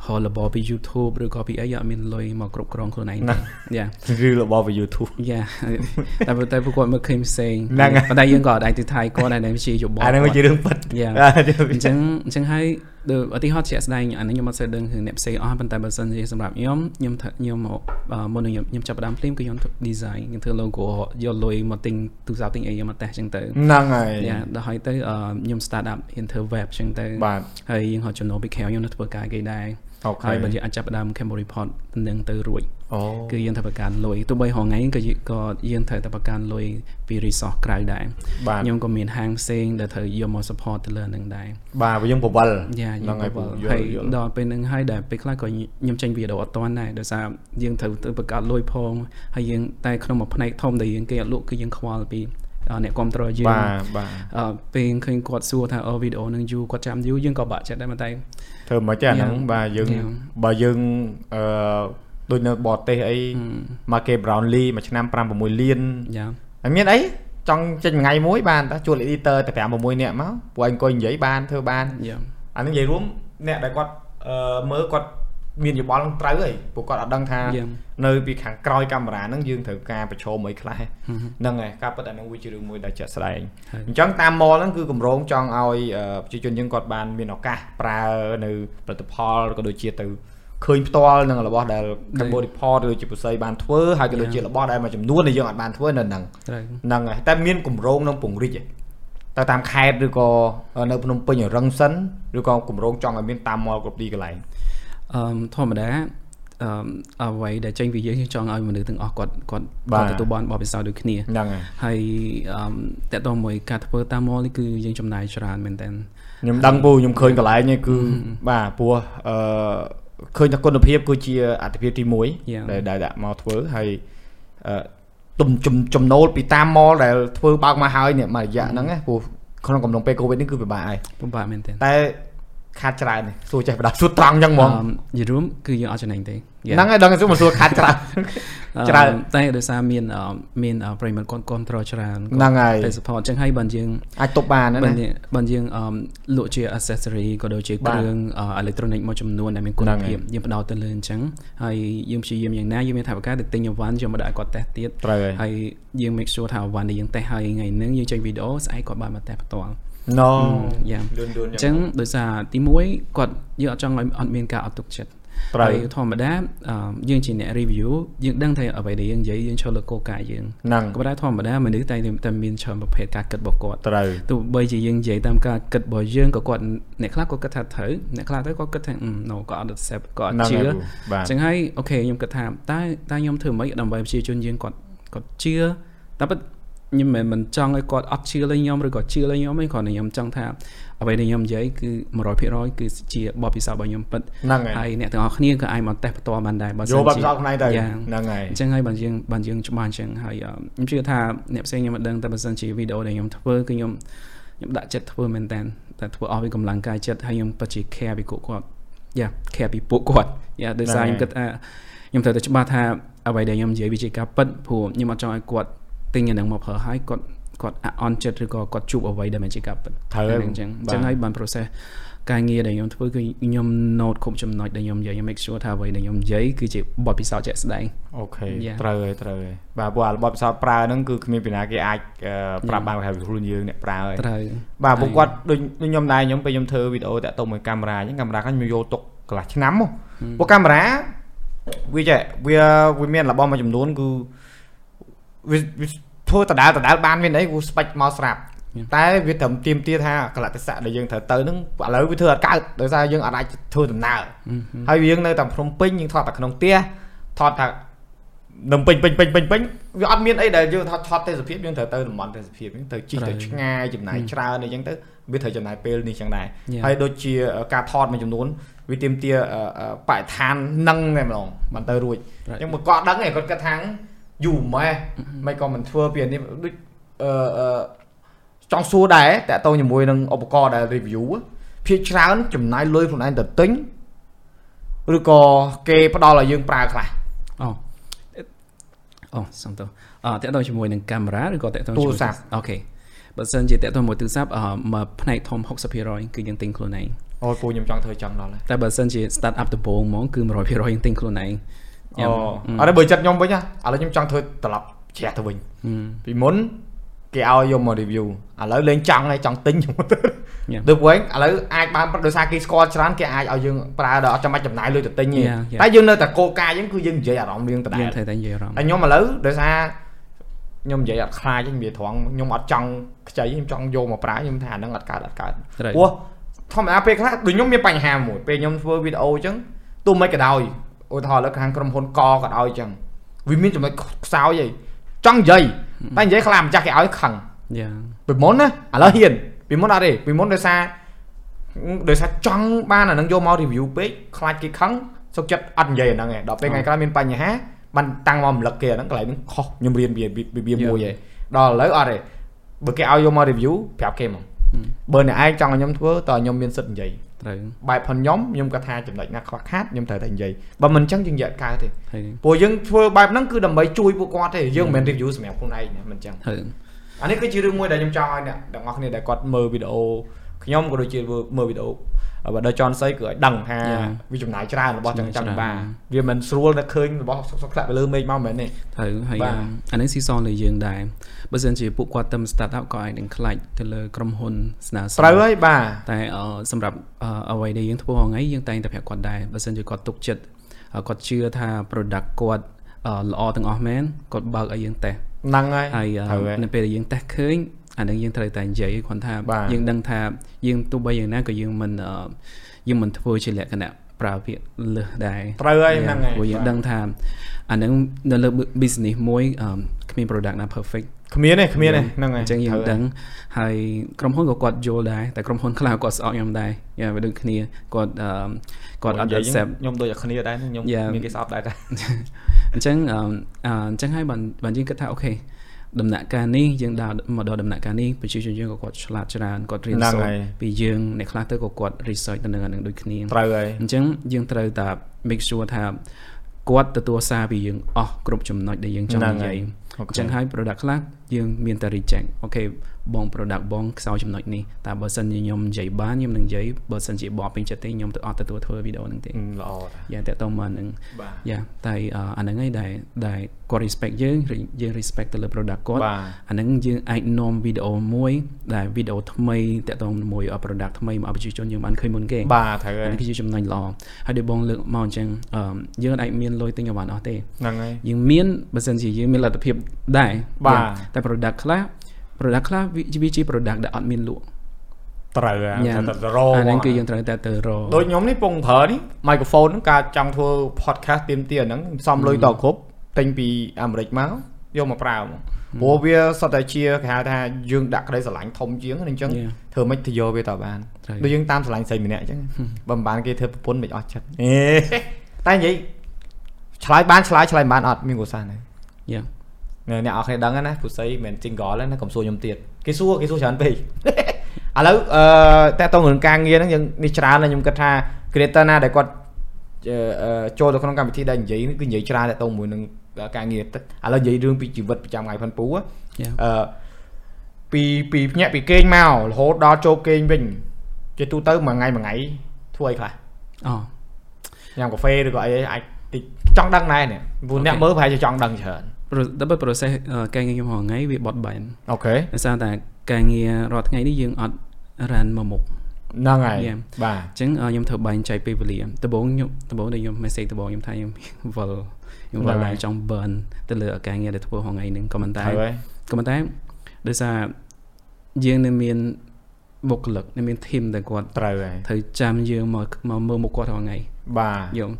Speaker 2: ហៅរបបពី YouTube ឬក៏ពីអីយើងអត់មានលុយមកគ្រប់គ្រងខ្លួនឯងទេយ៉ា
Speaker 1: ឬរបស់វា YouTube
Speaker 2: យ៉ា (laughs) តែប៉ុន្តែពួកគាត់មកឃើញផ្សេង
Speaker 1: ហ្នឹងហើយ
Speaker 2: ប៉ុន្តែយើងក៏អត់អាចទិដ្ឋាយគាត់ដែរជាយោបល់
Speaker 1: អាហ្នឹងវាជារឿងពិត
Speaker 2: (laughs) យ៉ា
Speaker 1: (laughs) អានេះ
Speaker 2: អញ្ចឹងអញ្ចឹងហើយដូចឧទាហរណ៍ជាក់ស្ដែងអានេះខ្ញុំអត់សូវដឹងគឺអ្នកផ្សេងអស់ប៉ុន្តែបើសិនជាសម្រាប់ខ្ញុំខ្ញុំថាខ្ញុំមកអឺមុននឹងខ្ញុំខ្ញុំចាប់ផ្ដើមភ្លាមគឺខ្ញុំធ្វើ design ខ្ញុំធ្វើ logo យកលុយមកទិញទូរស័ព្ទទិញអីយកមកតេស្តអញ្ចឹងទៅ
Speaker 1: ហ្នឹងហើយ
Speaker 2: យ៉ាដល់ហើយទៅអឺខ្ញុំ start up ហ៊ានធ្វើ web អញ្ចឹងទៅ
Speaker 1: បាទ
Speaker 2: ហើយយើងហត់ចំណូលពីក្រៅយើងនៅធ្វើការគេដែរ
Speaker 1: អូខេ
Speaker 2: ហើយបើយើងអាចចាប់ផ្ដើម Cambo report ដំណឹងទៅរួច
Speaker 1: អូ
Speaker 2: គឺយើងត្រូវប្រកាន់លុយទោះបីរហងៃក៏យើងក៏យើងត្រូវតែប្រកាន់លុយពី resource ក្រៅដែរ
Speaker 1: បាទ
Speaker 2: ខ្ញុំក៏មានហាងផ្សេងដែលត្រូវយកមក support ទៅលើហ្នឹងដែរ
Speaker 1: បាទវាយើងពវល់
Speaker 2: យ៉ា
Speaker 1: ហ្នឹងហើយ
Speaker 2: ក៏
Speaker 1: ពូយ
Speaker 2: ហើ
Speaker 1: ល់
Speaker 2: យ
Speaker 1: យល់
Speaker 2: ដល់ពេលហ្នឹងហើយដែលពេលខ្លះក៏ខ្ញុំចេញវីដេអូអត់តាន់ដែរដោយសារយើងត្រូវទៅប្រកាសលុយផងហើយយើងតែក្នុងមួយផ្នែកធំដែលយើងគេអត់លក់គឺយើងខ្វល់ពីអឺអ្នកគ្រប់គ្រងយើង
Speaker 1: បាទបាទ
Speaker 2: អឺពេលឃើញគាត់សួរថាអូវីដេអូនឹងយូរគាត់ចាំយូរយើងក៏បាក់ចិត្តដែរប៉ុន្តែ
Speaker 1: ធ្វើមិនចេះអាហ្នឹង
Speaker 2: Yeah.
Speaker 1: បាទយើង
Speaker 2: Yeah.
Speaker 1: បើយើងអឺដូចនៅបរទេសអីមកគេ Brownlee មួយឆ្នាំ5 6លាន
Speaker 2: យ៉ា
Speaker 1: អត់មានអីចង់ចេញមួយថ្ងៃមួយបានតែជួល editor តែ5 6នាក់មកពួកឯងអង្គុយនិយាយបានធ្វើបាន
Speaker 2: យ៉ា
Speaker 1: អានឹងនិយាយរួមអ្នកដែលគាត់អឺមើលគាត់មានយោបល់នឹងត្រូវហើយពួកគាត់អត់ដឹងថា
Speaker 2: យ៉ា
Speaker 1: នៅពីខាងក្រោយកាមេរ៉ាហ្នឹងយើងត្រូវការប្រឈមអីខ្លះហ្នឹងហើយការពិតអានឹងវាជារឿងមួយដែលជាក់ស្ដែង
Speaker 2: ហើយ
Speaker 1: អញ្ចឹងតាម mall ហ្នឹងគឺកម្រងចង់ឲ្យអឺប្រជាជនយើងគាត់បានមានឱកាសប្រើនៅផលិតផលក៏ដូចជាទៅឃើញផ្ទាល់នឹងរបស់ដែល Cambodia Report ឬជាពុស័យបានធ្វើហើយក៏ដូចជារបស់ដែលមួយចំនួនដែលយើងអាចបានធ្វើនៅហ្នឹង
Speaker 2: ត្រូវ
Speaker 1: ហ្នឹងហើយតែមានគម្រោងនឹងពង្រីកឯងទៅតាមខេត្តឬក៏នៅភ្នំពេញរឹងសិនឬក៏គម្រោងចង់ឲ្យមានតាម mall គ្រប់ទីកន្លែង
Speaker 2: អឺធម្មតាអឺអ្វីដែលចេញពីយើងយើងចង់ឲ្យមនុស្សទាំងអស់គាត់គាត់
Speaker 1: បាទ
Speaker 2: គាត់ទទួលបានបទពិសោធន៍ដូចគ្នា
Speaker 1: ហ្នឹងហើយ
Speaker 2: ហើយអឺតកតមួយការធ្វើតាមមលនេះគឺយើងចំណាយច្រើនមែនតើ
Speaker 1: ខ្ញុំដឹងពូខ្ញុំឃើញកន្លែងនេះគឺបាទព្រោះអឺឃើញថាគុណភាពគឺជាអត្ថិភាពទី1ដែលដែលដាក់មកធ្វើហើយអឺទំចំចំណូលពីតាម mall ដែលធ្វើបើកមកហើយនេះមួយរយៈហ្នឹងណាព្រោះក្នុងកំឡុងពេល covid នេះគឺពិបាកហើយ
Speaker 2: ពិបាកមែនតើ
Speaker 1: តែ ខាត់ច្រើនសួរចេះបដាសួរត្រង់អញ្ចឹងហ្មង
Speaker 2: យល់រួមគឺយើងអត់ចំណេញទេ Yeah.
Speaker 1: ហ្នឹងហើយដឹងតែមិនសួរខាត់ច្រើន ច្រើន
Speaker 2: អឺតែដោយសារមានអឺមានអឺប្រិយមិត្តគាត់គ្រប់ត្រច្រើនគាត់
Speaker 1: ហ្នឹងហើយ
Speaker 2: តែ support អញ្ចឹងហើយបានយើង
Speaker 1: អាចទប់បានណា
Speaker 2: បាន
Speaker 1: ណា
Speaker 2: យើងបានយើងអឺលក់ជា accessory ក៏ដូចជា
Speaker 1: បាទ
Speaker 2: គ្រឿងអឺ electronic មួយចំនួនដែលមានគុណ
Speaker 1: ហ្នឹងហើ
Speaker 2: ភាព
Speaker 1: យ
Speaker 2: យើងផ្ដោតទៅលើអញ្ចឹងហើយយើងព្យាយាមយ៉ាងណាយើងមានថាបកាទៅទិញអវ៉ាន់យកមកដាក់ឲ្យគាត់តេស្តទៀត
Speaker 1: ត្រូវហើយ
Speaker 2: ហើយយើង make sure ថាអវ៉ាន់ដែលយើងតេស្តហើយថ្ងៃហ្នឹងយើងចេញ video ស្អែកគាត់បានមកតេស្តផ្ទាល់
Speaker 1: ណូ
Speaker 2: Yeah
Speaker 1: លឿនលឿន
Speaker 2: អ
Speaker 1: អញ្ចឹ
Speaker 2: ញ្ចឹ
Speaker 1: ង
Speaker 2: ងដោយសារទី1គាត់យើងអត់ចង់ឲ្យអត់មានការអត់ទុកចិត្ត
Speaker 1: ត្រូវ
Speaker 2: ហើយធម្មតាអឺយើងជាអ្នក review យើងដឹងថាអ្វីដែលយើងនិយាយយើងឆ្លលើគោលការណ៍យើង
Speaker 1: ហ្នឹង
Speaker 2: ក៏ប៉ុន្តែធម្មតាមនុស្សតែងតែមានច្រើនប្រភេទការគិតរបស់គាត់
Speaker 1: ត្រូវ
Speaker 2: ទោះបីជាយើងនិយាយតាមការគិតរបស់យើងក៏គាត់អ្នកខ្លះគាត់គិតថាត្រូវអ្នកខ្លះទៅគាត់គិតថា "Mm, no គាត់អត់ accept គាត់អត់
Speaker 1: ហ្នឹង
Speaker 2: ជឿ
Speaker 1: ហើយ
Speaker 2: អ
Speaker 1: បាទ
Speaker 2: ញ្ចឹងហើយអូខេខ្ញុំគិតថាតើតើខ្ញុំធ្វើម៉េចដើម្បីប្រជាជនយើងគាត់គាត់ជឿតែពិតខ្ញុំមិនមិនចង់ឲ្យគាត់អត់ជឿលើខ្ញុំឬក៏ជឿលើខ្ញុំទេគ្រាន់តែខ្ញុំចង់ថាអ្វីដែលខ្ញុំនិយាយគឺ100%គឺជាបទពិសោធន៍របស់ខ្ញុំពិត
Speaker 1: ហ្នឹងហើយ
Speaker 2: ហើយអ្នកទាំងអស់គ្នាក៏អាចមកតេស្តផ្ទាល់បានដែរបើ
Speaker 1: យកបាត់
Speaker 2: ជា
Speaker 1: ផ្សោតផ្នែកទៅ
Speaker 2: យ៉ាង
Speaker 1: ហ្នឹងហើយ
Speaker 2: អញ្ចឹងហើយបានយើងបានយើងច្បាស់អញ្ចឹងហើយអឺខ្ញុំជឿថាអ្នកផ្សេងខ្ញុំមិនដឹងតែបើសិនជាវីដេអូដែលខ្ញុំធ្វើគឺខ្ញុំខ្ញុំដាក់ចិត្តធ្វើមែនតើតែធ្វើអស់ពីកម្លាំងកាយចិត្តហើយខ្ញុំពិតជា care ពីពួកគាត់យ៉ា care ពីពួកគាត់យ៉ាដោយសារ
Speaker 1: ហ្នឹងហើយ
Speaker 2: ខ្ញុំគិតថាខ្ញុំត្រូវតែច្បាស់ថាអ្វីដែលខ្ញុំនិយាយវាជាការពិតព្រោះខ្ញុំអត់ចង់ឲ្យគាត់ទិញអាហ្នឹងមកប្រើហើយគាត់គាត់អាក់អន់ចិត្តឬក៏គាត់ជួបអ្វីដែលមិនជាការពិត
Speaker 1: ត្រូវហើយ
Speaker 2: ហ្នឹងអញ្ចឹងអ
Speaker 1: បាទ
Speaker 2: ញ្ចឹងហើយបាន process ការងារដែលខ្ញុំធ្វើគឺខ្ញុំ note គ្រប់ចំណុចដែលខ្ញុំនិយាយខ្ញុំ make sure ថាអ្វីដែលខ្ញុំនិយាយគឺជាបទពិសោធន៍ជាក់ស្ដែង
Speaker 1: អូខេ
Speaker 2: Yeah.
Speaker 1: ត្រូវហើយត្រូវហើយបាទព្រោះអារបបពិសោធន៍ប្រើហ្នឹងគឺគ្មានពីណាគេអាចអឺប្រាប់បានថាខ្លួនយើងអ្នកប្រើហើយ
Speaker 2: ត្រូវ
Speaker 1: បាទ
Speaker 2: ហើ
Speaker 1: ពួក
Speaker 2: យ
Speaker 1: គាត់ដូចដូចខ្ញុំដែរខ្ញុំពេលខ្ញុំធ្វើវីដេអូតាក់ទងមួយកាមេរ៉ាអញ្ចឹងកាមេរ៉ាខ្ញុំយកទុកកន្លះឆ្នាំមកពួកកាមេរ៉ាវាចេះវាវាមានរបស់មួយចំនួនគឺវាវាធ្វើដដាលដដាលបានមានអីគូស្បាច់មកស្រាប់
Speaker 2: Yeah.
Speaker 1: តែវាត្រឹមទៀមទាត់ថាកលតិស័កដែលយើងត្រូវទៅហ្នឹងឥឡូវវាធ្វើអត់កើតដោយសារយើងអត់អាចធ្វើដំណើរហើយយើងនៅតាមភ្នំពេញយើងថតតែក្នុងផ្ទះថតថានៅពេញពេញពេញពេញពេញវាអត់មានអីដែលយើងថតថតទេសភាពយើងត្រូវទៅតំបន់ទេសភាពយើងទៅជិះទៅ
Speaker 2: ត្រូវ
Speaker 1: ឆ្ងាយចំណាយច្រើនអីចឹងទៅវាត្រូវចំណាយពេលនេះចឹងដែរ
Speaker 2: Yeah.
Speaker 1: ហើយដូចជាការថតមួយចំនួនវាទាមទារបរិស្ថាននឹងតែម្ដងបានទៅរួច
Speaker 2: Right.
Speaker 1: អញ្ចឹងមកគាត់ដឹងឯងគាត់គិតថាយូរម៉េះមិនក៏មិនធ្វើពីអានេះដូចអឺអឺចង់សួរដែរតាក់ទងជាមួយនឹងឧបករណ៍ដែល review ហ៎ភាគច្រើនចំណាយលុយខ្លួនឯងទៅទិញឬក៏គេផ្ដល់ឲ្យយើងប្រើខ្លះ
Speaker 2: អូអូសំទោសអតើតើជាមួយនឹងកាមេរ៉ាឬក៏តើតើ
Speaker 1: ទូរស័ព្ទ
Speaker 2: អូខេបើសិនជាតើតើមួយទូរស័ព្ទអឺមកផ្នែកធំ60%គឺយើងទិញខ្លួនឯង
Speaker 1: អូយពូខ្ញុំចង់ធ្វើចង់ដល់ហើយ
Speaker 2: តែបើសិនជា start up ដំបូងហ្មងគឺ100%យើងទិញខ្លួនឯង
Speaker 1: អូអរបើចិត្តខ្ញុំវិញណាឥឡូវខ្ញុំចង់ធ្វើត្រឡប់ជ្រះទៅវិញ ពីមុនគេឲ្យយកមក review ឥឡូវលេងចង់ហើយចង់ទិញយកមកទៅ
Speaker 2: យ៉ា
Speaker 1: ទៅវិញឥឡូវអាចបានប្រាក់ដោយសារគេស្គាល់ច្រើនគេអាចឲ្យយើងប្រើដល់អត់ចាំបាច់ចំណាយលុយទៅទិញទេ
Speaker 2: Yeah, yeah.
Speaker 1: តែយើងនៅតែគោលការណ៍យើងគឺយើងនិយាយអារម្មណ៍យើងដដែល
Speaker 2: យើង
Speaker 1: ហើយ
Speaker 2: ត្រូវតែនិយាយអារម្មណ៍
Speaker 1: ខ្ញុំឥឡូវដោយសារខ្ញុំនិយាយអត់ខ្លាចទេនិយាយត្រង់ខ្ញុំអត់ចង់ខ្ចីខ្ញុំចង់យកមកប្រើខ្ញុំថាអាហ្នឹងអត់កើតអត់កើត
Speaker 2: ត្រូវ
Speaker 1: ព្រោះធម្មតាពេលខ្លះដូចខ្ញុំមានបញ្ហាមួយពេលខ្ញុំធ្វើវីដេអូអញ្ចឹងទោះមិនក៏ដោយឧទាហរណ៍លើខាងក្រុមហ៊ុនកក៏ដោយអញ្ចឹងវាមានចំណុចខ្សោយអីចង់និយាយតែនិយាយខ្លះម្ចាស់គេឲ្យខឹង
Speaker 2: យ៉ា
Speaker 1: ពីមុនណាឥឡូវហ៊ានពីមុនអត់ទេពីមុនដោយសារដោយសារចង់បានអានឹងយកមក review ពេកខ្លាចគេខឹងសុខចិត្តអត់និយាយអាហ្នឹងឯងដល់ពេលថ្ងៃក្រោយមានបញ្ហាបានតាំងមកម្លឹកគេអាហ្នឹងកន្លែងហ្នឹងខុសខ្ញុំរៀនវាវាវាមួយឯងដល់ឥឡូវអត់ទេបើគេឲ្យយកមក review ប្រាប់គេមកបើអ្នកឯងចង់ឲ្យខ្ញុំធ្វើតើខ្ញុំមានសិទ្ធិនិយាយ
Speaker 2: ត្រូវ
Speaker 1: បែបផងខ្ញុំខ្ញុំក៏ថាចំណុចណាខ្វះខាតខ្ញុំត្រូវតែនិយាយបើមិនអញ្ចឹងយើងយកកើតទេ
Speaker 2: ហើយ
Speaker 1: ព្រោះយើងធ្វើបែបហ្នឹងគឺដើម្បីជួយពួកគាត់ទេយើងមិនមែន review សម្រាប់ខ្លួនឯងណាមិនអញ្ចឹង
Speaker 2: ហើយ
Speaker 1: អានេះគឺជារឿងមួយដែលខ្ញុំចង់ឲ្យអ្នកទាំងអស់គ្នាដែលគាត់មើលវីដេអូខ្ញុំក៏ដូចជាមើលវីដេអូបើដល់ចន់សៃគឺឲ្យដឹងថា
Speaker 2: Yeah.
Speaker 1: វាចំណាយច្រើនរបស់
Speaker 2: ចំ
Speaker 1: ចាំចាំ
Speaker 2: ណាយច្រើន
Speaker 1: បាវាមិនស្រួលតែឃើញរបស់សុកសុកៗខ្លាក់ទៅលើមេឃមកមិនមែនទេ
Speaker 2: ត្រូវហើយ
Speaker 1: បាទ
Speaker 2: អាហ្នឹងស៊ីសនលើយើងដែរបើសិនជាពួកគាត់ទៅ start up ក៏អាចនឹងខ្លាចទៅលើក្រុមហ៊ុនស្នើសុំ
Speaker 1: ត្រូវហើយបាទ
Speaker 2: តែអឺសម្រាប់អឺអ្វីដែលយើងធ្វើហងៃយើងតែងតែប្រាប់គាត់ដែរបើសិនជាគាត់ទុកចិត្តអឺគាត់ជឿថា product គាត់អឺល្អទាំងអស់មែនគាត់បើកឲ្យយើងតេស្ត
Speaker 1: ហ្នឹងហើយ
Speaker 2: ហើយអឺ
Speaker 1: ត្រូវហើយ
Speaker 2: នៅពេលដែលយើងតេស្តឃើញអាហ្នឹងយើងត្រូវតែនិយាយឲ្យគាត់ថា
Speaker 1: បាទ
Speaker 2: យើងដឹងថាយើងទោះបីយ៉ាងណាក៏យើងមិនអឺយើងមិនធ្វើជាលក្ខណៈប្រើពាក្យលើសដែរ
Speaker 1: ត្រូវហើយ
Speaker 2: Yeah,
Speaker 1: ហ្នឹងហើយ
Speaker 2: ព្រោះយើង
Speaker 1: បាទ
Speaker 2: ដឹងថាអាហ្នឹងនៅលើ business មួយអឺគ្មាន product ណា perfect
Speaker 1: គ្មានទេគ្មានទេហ្នឹងហើយ
Speaker 2: អញ្ចឹងយើង
Speaker 1: ត្រូវ
Speaker 2: ដឹងហើយក្រុមហ៊ុនក៏គាត់យល់ដែរតែក្រុមហ៊ុនខ្លះគាត់ស្អប់ខ្ញុំដែរយ៉ាវាដូចគ្នាគាត់អឺគាត់អត់
Speaker 1: និយាយ
Speaker 2: accept (laughs)
Speaker 1: ខ្ញុំដូចតែគ្នាដែរខ្ញុំ
Speaker 2: Yeah.
Speaker 1: មានគេស្អប់ដែរតែ
Speaker 2: អញ្ចឹងអឺអឺអញ្ចឹងហើយបានបានយើងគិតថាអូខេ ដំណាក់កាលនេះយើងដល់មកដល់ដំណាក់កាលនេះប្រជាជនយើងក៏គាត់ឆ្លាតច្រើនគាត់រៀន
Speaker 1: ហ្នឹង
Speaker 2: សូត្រ
Speaker 1: ហើយ
Speaker 2: ពីយើងអ្នកខ្លះទៅក៏គាត់ research ទៅនឹងអានឹងដូចគ្នា
Speaker 1: ត្រូវហើយ
Speaker 2: អញ្ចឹងយើងត្រូវតែ make sure ថាគាត់ទទួលសារពីយើងអស់គ្រប់ចំណុចដែលយើងចង់
Speaker 1: ហ្នឹង
Speaker 2: និ
Speaker 1: ហើយ
Speaker 2: យាយ
Speaker 1: អូខេ
Speaker 2: ចឹងហើយ product ខ្លះយើងមានតែ reject អូខេបង product បងខ្សោយចំណុចនេះតែបើសិនជាខ្ញុំនិយាយបានខ្ញុំនឹងនិយាយបើសិនជាបបពេញចិត្តទេខ្ញុំទៅអត់ទទួលធ្វើវីដេអូហ្នឹងទេ
Speaker 1: អឺល្អតា
Speaker 2: យ៉ាងតទៅមកហ្នឹង
Speaker 1: បាទ
Speaker 2: យ៉ាតែអឺអាហ្នឹងឯងដែលដែលគាត់ respect យើងឬយើង respect ទៅលើ product គាត់
Speaker 1: បាទ
Speaker 2: អាហ្នឹងយើងអាចនាំវីដេអូមួយដែលវីដេអូថ្មីតទៅមួយ product ថ្មីមកឲ្យប្រជាជនយើងបានឃើញមុនគេ
Speaker 1: បាទត្រូវហើយ
Speaker 2: អានេះគឺជាចំណុចល្អហើយដូចបងលើកមកអញ្ចឹងអឺយើងអាចមានលុយទិញអីវ៉ាន់អស់ទេ
Speaker 1: ហ្នឹងហើយ
Speaker 2: យើងមានបើសិនជាយើងមានលទ្ធភាពដែរ
Speaker 1: បាទ
Speaker 2: តែ product ខ្លះ product ខ្លះវាវាជា product ដែលអត់មានលក់
Speaker 1: ត្រូវហើយតែទៅរហ្ម
Speaker 2: អាហ្នឹង
Speaker 1: ង
Speaker 2: គឺយើងត្រូវតែទៅរក
Speaker 1: ដូចខ្ញុំនេះពងប្រើនេះ microphone ហ្នឹងការចង់ធ្វើ podcast ទៀមទាហ្នឹងផ្សំលុយតគ្រប់ទិញពីអាមេរិកមកយកមកប្រើហ្មងព្រោះវាសតតែជាគេហៅថាយើងដាក់ក្តីស្រឡាញ់ធំជាងហ្នឹងអញ្ចឹង
Speaker 2: Yeah.
Speaker 1: ធ្វើម៉េចទៅយកវាតបាន
Speaker 2: ត្រូវ
Speaker 1: ដូចយើងតាមស្រឡាញ់ស្រីម្នាក់អញ្ចឹងបើមិនបានគេធ្វើប្រពន្ធមិនអស់ចិត្ត (laughs) ហេតែនិយាយឆ្លើយបានឆ្លើយឆ្លើយមិនបានអត់មានគ្រូសាស្ត្រណា
Speaker 2: យ៉ាង
Speaker 1: អ្នកអ្នកអរគ្នាដឹងហើយណាគ្រូស្រីមិនមែន single ទេណាកុំសួរខ្ញុំទៀតគេសួរគេសួរច្រើន (laughs) ពេក ឥឡូវអឺតើតើរឿងការងារហ្នឹងយើងនេះច្រើនណាស់ខ្ញុំគិតថា creator ណាដែលគាត់អឺអឺចូលទៅក្នុងកម្មវិធីដែលនិយាយហ្នឹងគឺនិយាយច្រើនតែតើមួយនឹងការងារតិចឥឡូវនិយាយរឿងពីជីវិតប្រចាំថ្ងៃផិនពូហ៎
Speaker 2: យ៉ាង
Speaker 1: អឺពីពីភ្ញាក់ពីគេងមករហូតដល់ចូលគេងវិញជាទូទៅមួយថ្ងៃមួយថ្ងៃធ្វើអីខ្លះ
Speaker 2: អូ
Speaker 1: ញ៉ាំកាហ្វេឬក៏អីអាចតិចចង់ដឹងដែរនេះព្រោះអ្នក
Speaker 2: Okay.
Speaker 1: មើលប្រហែលជាចង់ដឹងច្រើន
Speaker 2: ប្រដល់ពេល process អឺការងារខ្ញុំរាល់ថ្ងៃវាបត់បែន
Speaker 1: អូខេ
Speaker 2: ដោយសារតែការងាររាល់ថ្ងៃនេះយើងអត់រានមកមុខ
Speaker 1: ហ្នឹងហើយ
Speaker 2: Yeah.
Speaker 1: បាទ
Speaker 2: អញ្ចឹងអឺខ្ញុំធ្វើបែងចែកពេលវេលាដំបូងខ្ញុំដំបូងដែលខ្ញុំ message ដំបូងខ្ញុំថាខ្ញុំវល់ខ្ញុំវល់
Speaker 1: ហ្នឹង
Speaker 2: ដែ
Speaker 1: ហើយ
Speaker 2: រចង់ burn ទៅលើការងារដែលធ្វើរាល់ថ្ងៃហ្នឹងក៏មិនតែ
Speaker 1: ហើយ
Speaker 2: ក៏ប៉ុន្តែដោយសារយើងនៅមានបុគ្គលិកនៅមានធីមដែលគាត់
Speaker 1: ត្រូវហើយ
Speaker 2: ត្រូវចាំយើងមកមកមើលមុខគាត់រាល់ថ្ងៃ
Speaker 1: បាទ
Speaker 2: យល់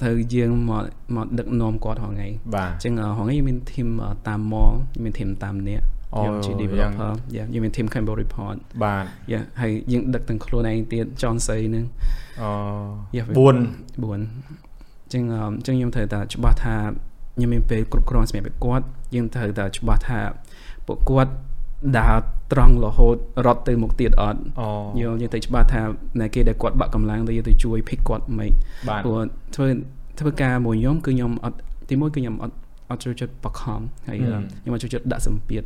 Speaker 2: ត្រូវយើងមកមកដឹកនាំគាត់រាល់ថ្ងៃ
Speaker 1: បាទ
Speaker 2: អញ្ចឹងអ่าរាល់ថ្ងៃយើងមានធីមតាមមងមានធីមតាមអ្នក
Speaker 1: អូ
Speaker 2: យើងជា
Speaker 1: យ៉ាង
Speaker 2: developer យើងយើងមានធីម Campbell report
Speaker 1: បាទ
Speaker 2: យ៉ាហើយយើងដឹកទាំងខ្លួនឯងទៀតចនសៃហ្នឹង
Speaker 1: អូ
Speaker 2: Yeah,
Speaker 1: បួន
Speaker 2: 4អញ្ចឹងអឺអញ្ចឹងខ្ញុំត្រូវតែច្បាស់ថាខ្ញុំមានពេលគ្រប់គ្រាន់សម្រាប់ពួកគាត់យើងត្រូវតែច្បាស់ថាពួកគាត់ដើរត្រង់រហូតរត់ទៅមុខទៀតអត់
Speaker 1: អូ
Speaker 2: យល់យើងត្រូវច្បាស់ថាអ្នកគេដែលគាត់បាក់កម្លាំងទៅយើងទៅជួយ pick គាត់មិន
Speaker 1: បាទ
Speaker 2: ព្រោះធ្វើធ្វើការមួយខ្ញុំគឺខ្ញុំអត់ទីមួយគឺខ្ញុំអត់អត់ចូលចិត្តបខំហើយអឺខ្ញុំអត់ចូលចិត្តដាក់សម្ពាធ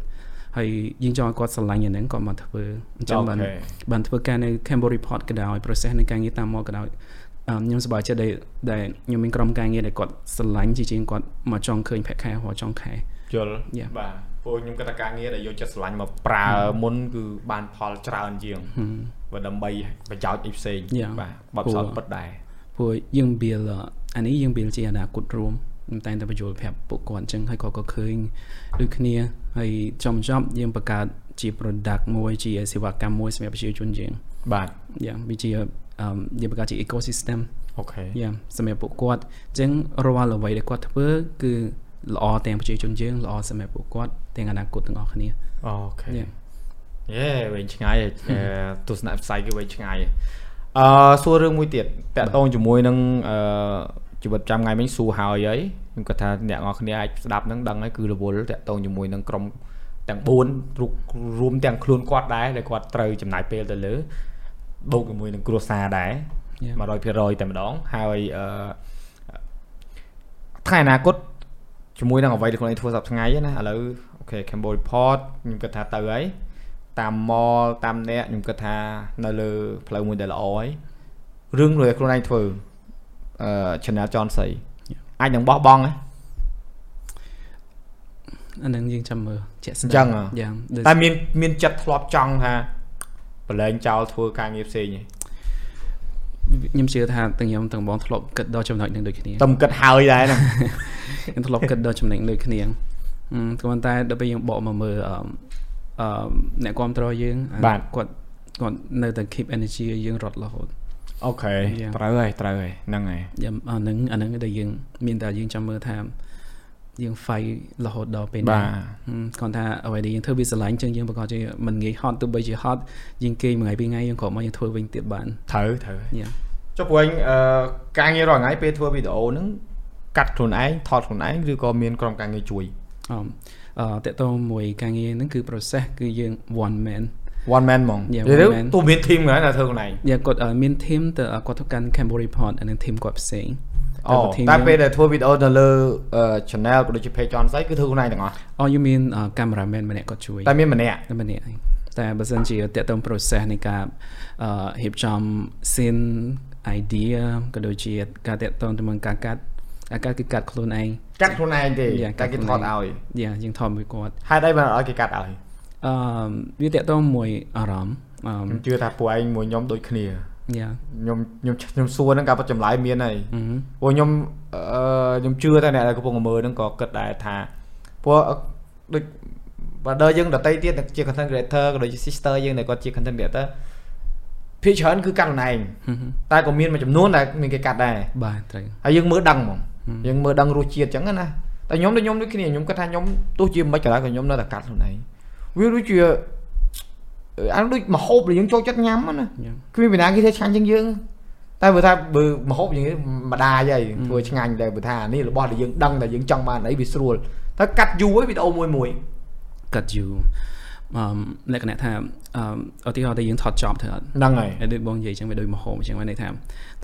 Speaker 2: ហើយយើងចង់ឲ្យគាត់ស្រឡាញ់អាហ្នឹងគាត់មកធ្វើអញ្ចឹងបាន
Speaker 1: អូខេ
Speaker 2: បានធ្វើការនៅ Cambodia Report ក៏ដោយ process នៃការងារតាមមកក៏ដោយអឺខ្ញុំសប្បាយចិត្តដែលដែលខ្ញុំមានក្រុមការងារដែលគាត់ស្រឡាញ់ជាជាងគាត់មកចង់ឃើញប្រាក់ខែរាល់ចុងខែ
Speaker 1: យល់
Speaker 2: Yeah.
Speaker 1: បាទពួកខ្ញុំគិតថាការងារដែលយកចិត្តស្រឡាញ់មកប្រើមុនគឺបានផលច្រើនជាងបើដើម្បីប្រយោជន៍អីផ្សេង
Speaker 2: Yeah.
Speaker 1: បាទបបផ្សោតពិតដែរ
Speaker 2: ព្រោះយើង build អឺអានេះយើង build ជាអនាគតរួមខ្ញុំតែងតែបញ្យល់ប្រាប់ពួកគាត់អញ្ចឹងហើយគាត់ក៏ឃើញដូចគ្នាហើយចំចប់យើងបង្កើតជា product មួយជាសេវាកម្មមួយសម្រាប់ប្រជាជនយើង
Speaker 1: បាទ
Speaker 2: យ៉ាងវាជាអឺយើងបង្កើតជា ecosystem
Speaker 1: អូខេ
Speaker 2: យ៉ាសម្រាប់ពួកគាត់អញ្ចឹងរាល់អ្វីដែលគាត់ធ្វើគឺល្អទាំងប្រជាជនយើងល្អសម្រាប់ពួកគាត់ទាំងអនាគតទាំងអស់គ្នា
Speaker 1: អូខេយ
Speaker 2: យ៉ា
Speaker 1: េវិញឆ្ងាយអឺទស្សនៈផ្សាយគឺវិញឆ្ងាយអឺសួររឿងមួយទៀតតកតងជាមួយនឹងអឺជីវិតប្រចាំថ្ងៃមិញសួរហើយហើយខ្ញុំគាត់ថាអ្នកនរគ្នាអាចស្ដាប់នឹងដឹងហើយគឺរវល់តកតងជាមួយនឹងក្រុមទាំង4រូបរួមទាំងខ្លួនគាត់ដែរដែលគាត់ត្រូវចំណាយពេលទៅលើបូកជាមួយនឹងគ្រួសារដែរ
Speaker 2: យ៉ា
Speaker 1: 100%តែម្ដងហើយអឺថ្ងៃអនាគតជាមួយនឹងអ្វីដែលខ្លួនឯងធ្វើសប្ដថ្ងៃហ្នឹងណាឥឡូវអូខេ Cambodia Report ខ្ញុំគិតថាទៅហើយតាម mall តាមអ្នកខ្ញុំគិតថានៅលើផ្លូវមួយដែលល្អហើយរឿងដែលខ្លួនឯងធ្វើអឺ Channel Johnson អាចនឹងបោះបង់ហ៎
Speaker 2: អាហ្នឹងយើងចាំមើលជាក់ស្ដែ
Speaker 1: អញ្ចឹងហ៎
Speaker 2: យ៉ាដូច
Speaker 1: តែមានមានចិត្តធ្លាប់ចង់ថាប្រឡែងចោលធ្វើការងារផ្សេងឯង
Speaker 2: ខ្ញុំជឿថាទាំងខ្ញុំទាំងបងធ្លាប់គិតដល់ចំណុចហ្នឹងដូចគ្នា
Speaker 1: តែមិនគិតហើយដែរហ្នឹង
Speaker 2: ខ្ញុំធ្លាប់គិតដល់ចំណុចដូចគ្នាអឺគ្រាន់តែដល់ពេលយើងបកមកមើលអឺអឺអ្នកគ្រប់គ្រងយើងអា
Speaker 1: បាទ
Speaker 2: គាត់គាត់នៅតែ keep energy យើងរត់រហូត
Speaker 1: អូខេ
Speaker 2: (laughs) Yeah.
Speaker 1: ត្រូវហើយត្រូវហើយហ្នឹងហើយ
Speaker 2: យ៉ាអាហ្នឹងអាហ្នឹងដែលយើងមានតែយើងចាំមើលថាយើង fight រហូតដល់ពេល
Speaker 1: បាទ
Speaker 2: ណាហ៊ឹមគ្រាន់ថាអ្វីដែលយើងធ្វើវាស្រឡាញ់ចឹងយើងប្រកាសជាមិនងាយហត់ទោះបីជាហត់យើងគេងមួយថ្ងៃពីរថ្ងៃយើងគ្រាន់មកយើងធ្វើវិញទៀតបាន
Speaker 1: ត្រូវត្រូវ
Speaker 2: យ៉ា
Speaker 1: ចុះព្រោះអញអឺការងាររាល់ថ្ងៃពេលធ្វើវីដេអូហ្នឹងកាត់ខ្លួនឯងថតខ្លួនឯងឬក៏មានក្រុមការងារជួយ
Speaker 2: អមអ អឺតកតងមួយការងារហ្នឹងគឺ process គឺយើង one man
Speaker 1: one man ហ្មង
Speaker 2: Yeah,
Speaker 1: និយាយទៅ
Speaker 2: one man
Speaker 1: ទូមាន team ហ្នឹងណាធ្វើខ្លួនឯង
Speaker 2: យើងគាត់អឺមាន team ទៅអឺគាត់ធ្វើការ Cambodia report អានឹង team គាត់ផ្សេង
Speaker 1: អូ
Speaker 2: បើ team
Speaker 1: តែ
Speaker 2: យើង
Speaker 1: ពេលដែលធ្វើវីដេអូនៅលើអឺ channel ក៏ដូចជា page ចន់ស្អីគឺធ្វើខ្លួនឯងទាំងអស់
Speaker 2: អូយើងមាន cameraman ម្នាក់គាត់ជួយ
Speaker 1: តែមានម្នាក់
Speaker 2: តែម្នាក់ឯងតែបើសិនជាតកតង process នៃការអឺរៀបចំ scene idea ក៏ដូចជាការតកតងទៅនឹងការកាត់ការកាត់គឺកាត់ខ្លួនឯង
Speaker 1: កាត់ខ្លួនឯងទេ
Speaker 2: Yeah,
Speaker 1: តែគេថ
Speaker 2: កាត់
Speaker 1: ត
Speaker 2: ខ្លួនឯង
Speaker 1: ឲ្យ
Speaker 2: យ៉ាយើងថតមួយគាត់
Speaker 1: ហេតុអីបានអត់ឲ្យគេកាត់ឲ្យ
Speaker 2: អឺវាតកតងមួយអារម្មណ៍អ
Speaker 1: ខ្ញុំជឿថាពួកឯងមួយខ្ញុំដូចគ្នា
Speaker 2: ឺយ៉ា
Speaker 1: ខ្ញុំខ្ញុំខ្ញុំសួរហ្នឹងការបត់ចម្លើយមានហើយ
Speaker 2: អឺហឹម
Speaker 1: ពួកខ្ញុំអឺខ្ញុំជឿតែអ្នកដែលកំពុងមើលហ្នឹងក៏គិតដែរថាពួកដូចបើដល់យើងដតីទៀតជា content creator ក៏ដូចជា sister យើងដែលគាត់ជា content creator ភាគច្រើនគឺកាត់ខ្លួនឯង
Speaker 2: ហឹមហឹម
Speaker 1: តែក៏មានមួយចំនួនដែលមានគេកាត់ដែរ
Speaker 2: បាទត្រូវ
Speaker 1: ហើយយើងមើលដឹងហ្មងយើងមើលដឹងរសជាតិអញ្ចឹងណាតែខ្ញុំដូចខ្ញុំដូចគ្នាខ្ញុំគិតថាខ្ញុំទោះជាមិនខ្មិចក៏ដោយក៏ខ្ញុំនៅតែកាត់ខ្លួនឯងវាដូចជាអានដូចមហូបដែលយើងចូលចិត្តញ៉ាំហ្នឹងណា
Speaker 2: យ៉ា
Speaker 1: គ្មានពីណាគេថាឆ្ងាញ់ជាងយើងតែបើថាបើមហូបយ៉ាងនេះម្ដាយហើយធ្វើឆ្ងាញ់តែបើថានេះរបស់ដែលយើងដឹងតែយើងចង់បានអីវាស្រួលតែកាត់យូរហើយវីដេអូមួយមួយ
Speaker 2: កាត់យូរអឺលក្ខណៈថាអឺឧទាហរណ៍តែយើងថតចប់ទៅអត់
Speaker 1: ហ្នឹងហើយ
Speaker 2: ហើយដូចបងនិយាយអញ្ចឹងវាដូចមហោមអញ្ចឹងបានន័យថា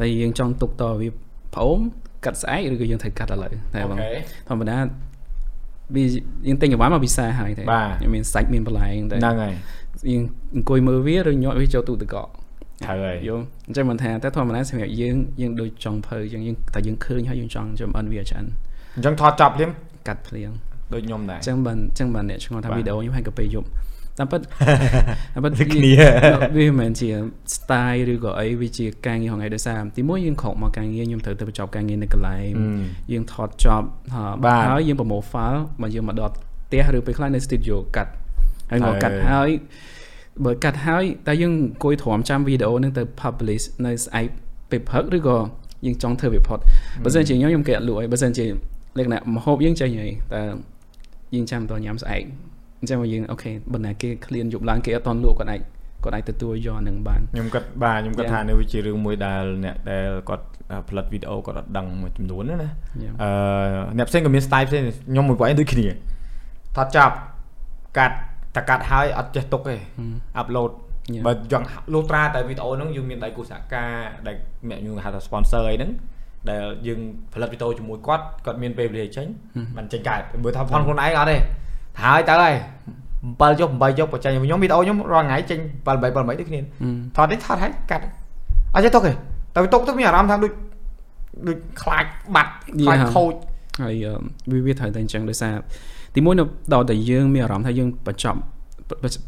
Speaker 2: តែយើងចង់ទុកតវាផ្អូមកាត់ស្អែកឬក៏យើងត្រូវកាត់ឥឡូវតែបងធម្មតាវាយើងទិញកង្វ៉ាមកពិសាហើយតែមានសាច់មានបន្លែតែ
Speaker 1: ហ្នឹងហើយ
Speaker 2: យើងអង្គុយមើលវាឬញាត់វាចូលទូទឹកកក
Speaker 1: ត្រូវហើយ
Speaker 2: យល់អញ្ចឹងមិនថាតែធម្មតាសម្រាប់យើងយើងដូចចង់ភៅអញ្ចឹងយើងតែយើងឃើញហើយយើងចង់ចំអិនវាឆ្អិន
Speaker 1: អញ្ចឹងថតចប់ភ្លាម
Speaker 2: កាត់ភ្លាង
Speaker 1: ដូចខ្ញុំដែរ
Speaker 2: អញ្ចឹងបានអញ្ចឹងបានអ្នកឆ្ងល់ថា
Speaker 1: បាទ
Speaker 2: វីដេអូខ្ញុំហាក់ក៏ពេលយប់តាមពិត
Speaker 1: (laughs)
Speaker 2: តាមពិត
Speaker 1: ដូចគ្នា
Speaker 2: វាមិនមែនជា style ឬក៏អីវាជាការងារហងៃដោយសារទីមួយយើងក្រោកមកការងារខ្ញុំត្រូវទៅបញ្ចប់ការងារនៅកន្លែងយើងថតចប់ហ่า
Speaker 1: បាទ
Speaker 2: ហើយយើងប្រមូល file មកយើងមកដកផ្ទះឬពេលខ្លះនៅ studio កាត់ហើយម
Speaker 1: ហើយ
Speaker 2: កកាត់ហើយបើកាត់ហើយតែយើងអង្គុយទ្រាំចាំវីដេអូនឹងទៅ publish នៅស្អែកពេលព្រឹកឬក៏យើងចង់ធ្វើ report បើសិនជាខ្ញុំខ្ញុំគេអត់លក់អីបើសិនជាលក្ខណៈមហូបយើងចេញហើយតែ យើងចាំតញ៉ាំស្អែកអញ្ចឹងមកយើងអូខេបើណាគេឃ្លានយប់ឡើងគេអត់តន់លក់គាត់អាចគាត់អាចទទួលយកនឹងបាន
Speaker 1: ខ្ញុំគិតបាទខ្ញុំគិត
Speaker 2: Yeah.
Speaker 1: ថានេះវាជារឿងមួយដែលអ្នកដែលគាត់ផលិតវីដេអូគាត់អត់ដឹងមួយចំនួនណាណា
Speaker 2: Yeah.
Speaker 1: អឺអ្នកផ្សេងក៏មាន style ផ្សេងខ្ញុំមួយពួកឯងដូចគ្នាថតចាប់កាត់តែកាត់ហើយអត់ចេះទុកទេ upload
Speaker 2: Yeah.
Speaker 1: បើចង់លុះត្រាតែវីដេអូហ្នឹងយើងមានដៃគូសហការដែលអ្នកយើងហៅថា sponsor អីហ្នឹងដែលយើងផលិតវីដេអូជាមួយគាត់គាត់មានពេលវេលាចេញមិនចេញកើតមើលថាផងខ្លួនឯងអត់ទេហើយទៅហើយ7យប់8យប់បើចេញខ្ញុំវីដេអូខ្ញុំរាល់ថ្ងៃចេញ7 8 8ដូចគ្នាថតនេះថតហើយកាត់អត់ចេះទុកទេតែទុកទៅមានអារម្មណ៍ថាដូចដូចខ្លាចបាត់ខ្លាច
Speaker 2: Yeah.
Speaker 1: ខូច
Speaker 2: ហើយអឺវាវាត្រូវតែអញ្ចឹងដោយសារទីមួយនៅដល់តែយើងមានអារម្មណ៍ថាយើងបញ្ចប់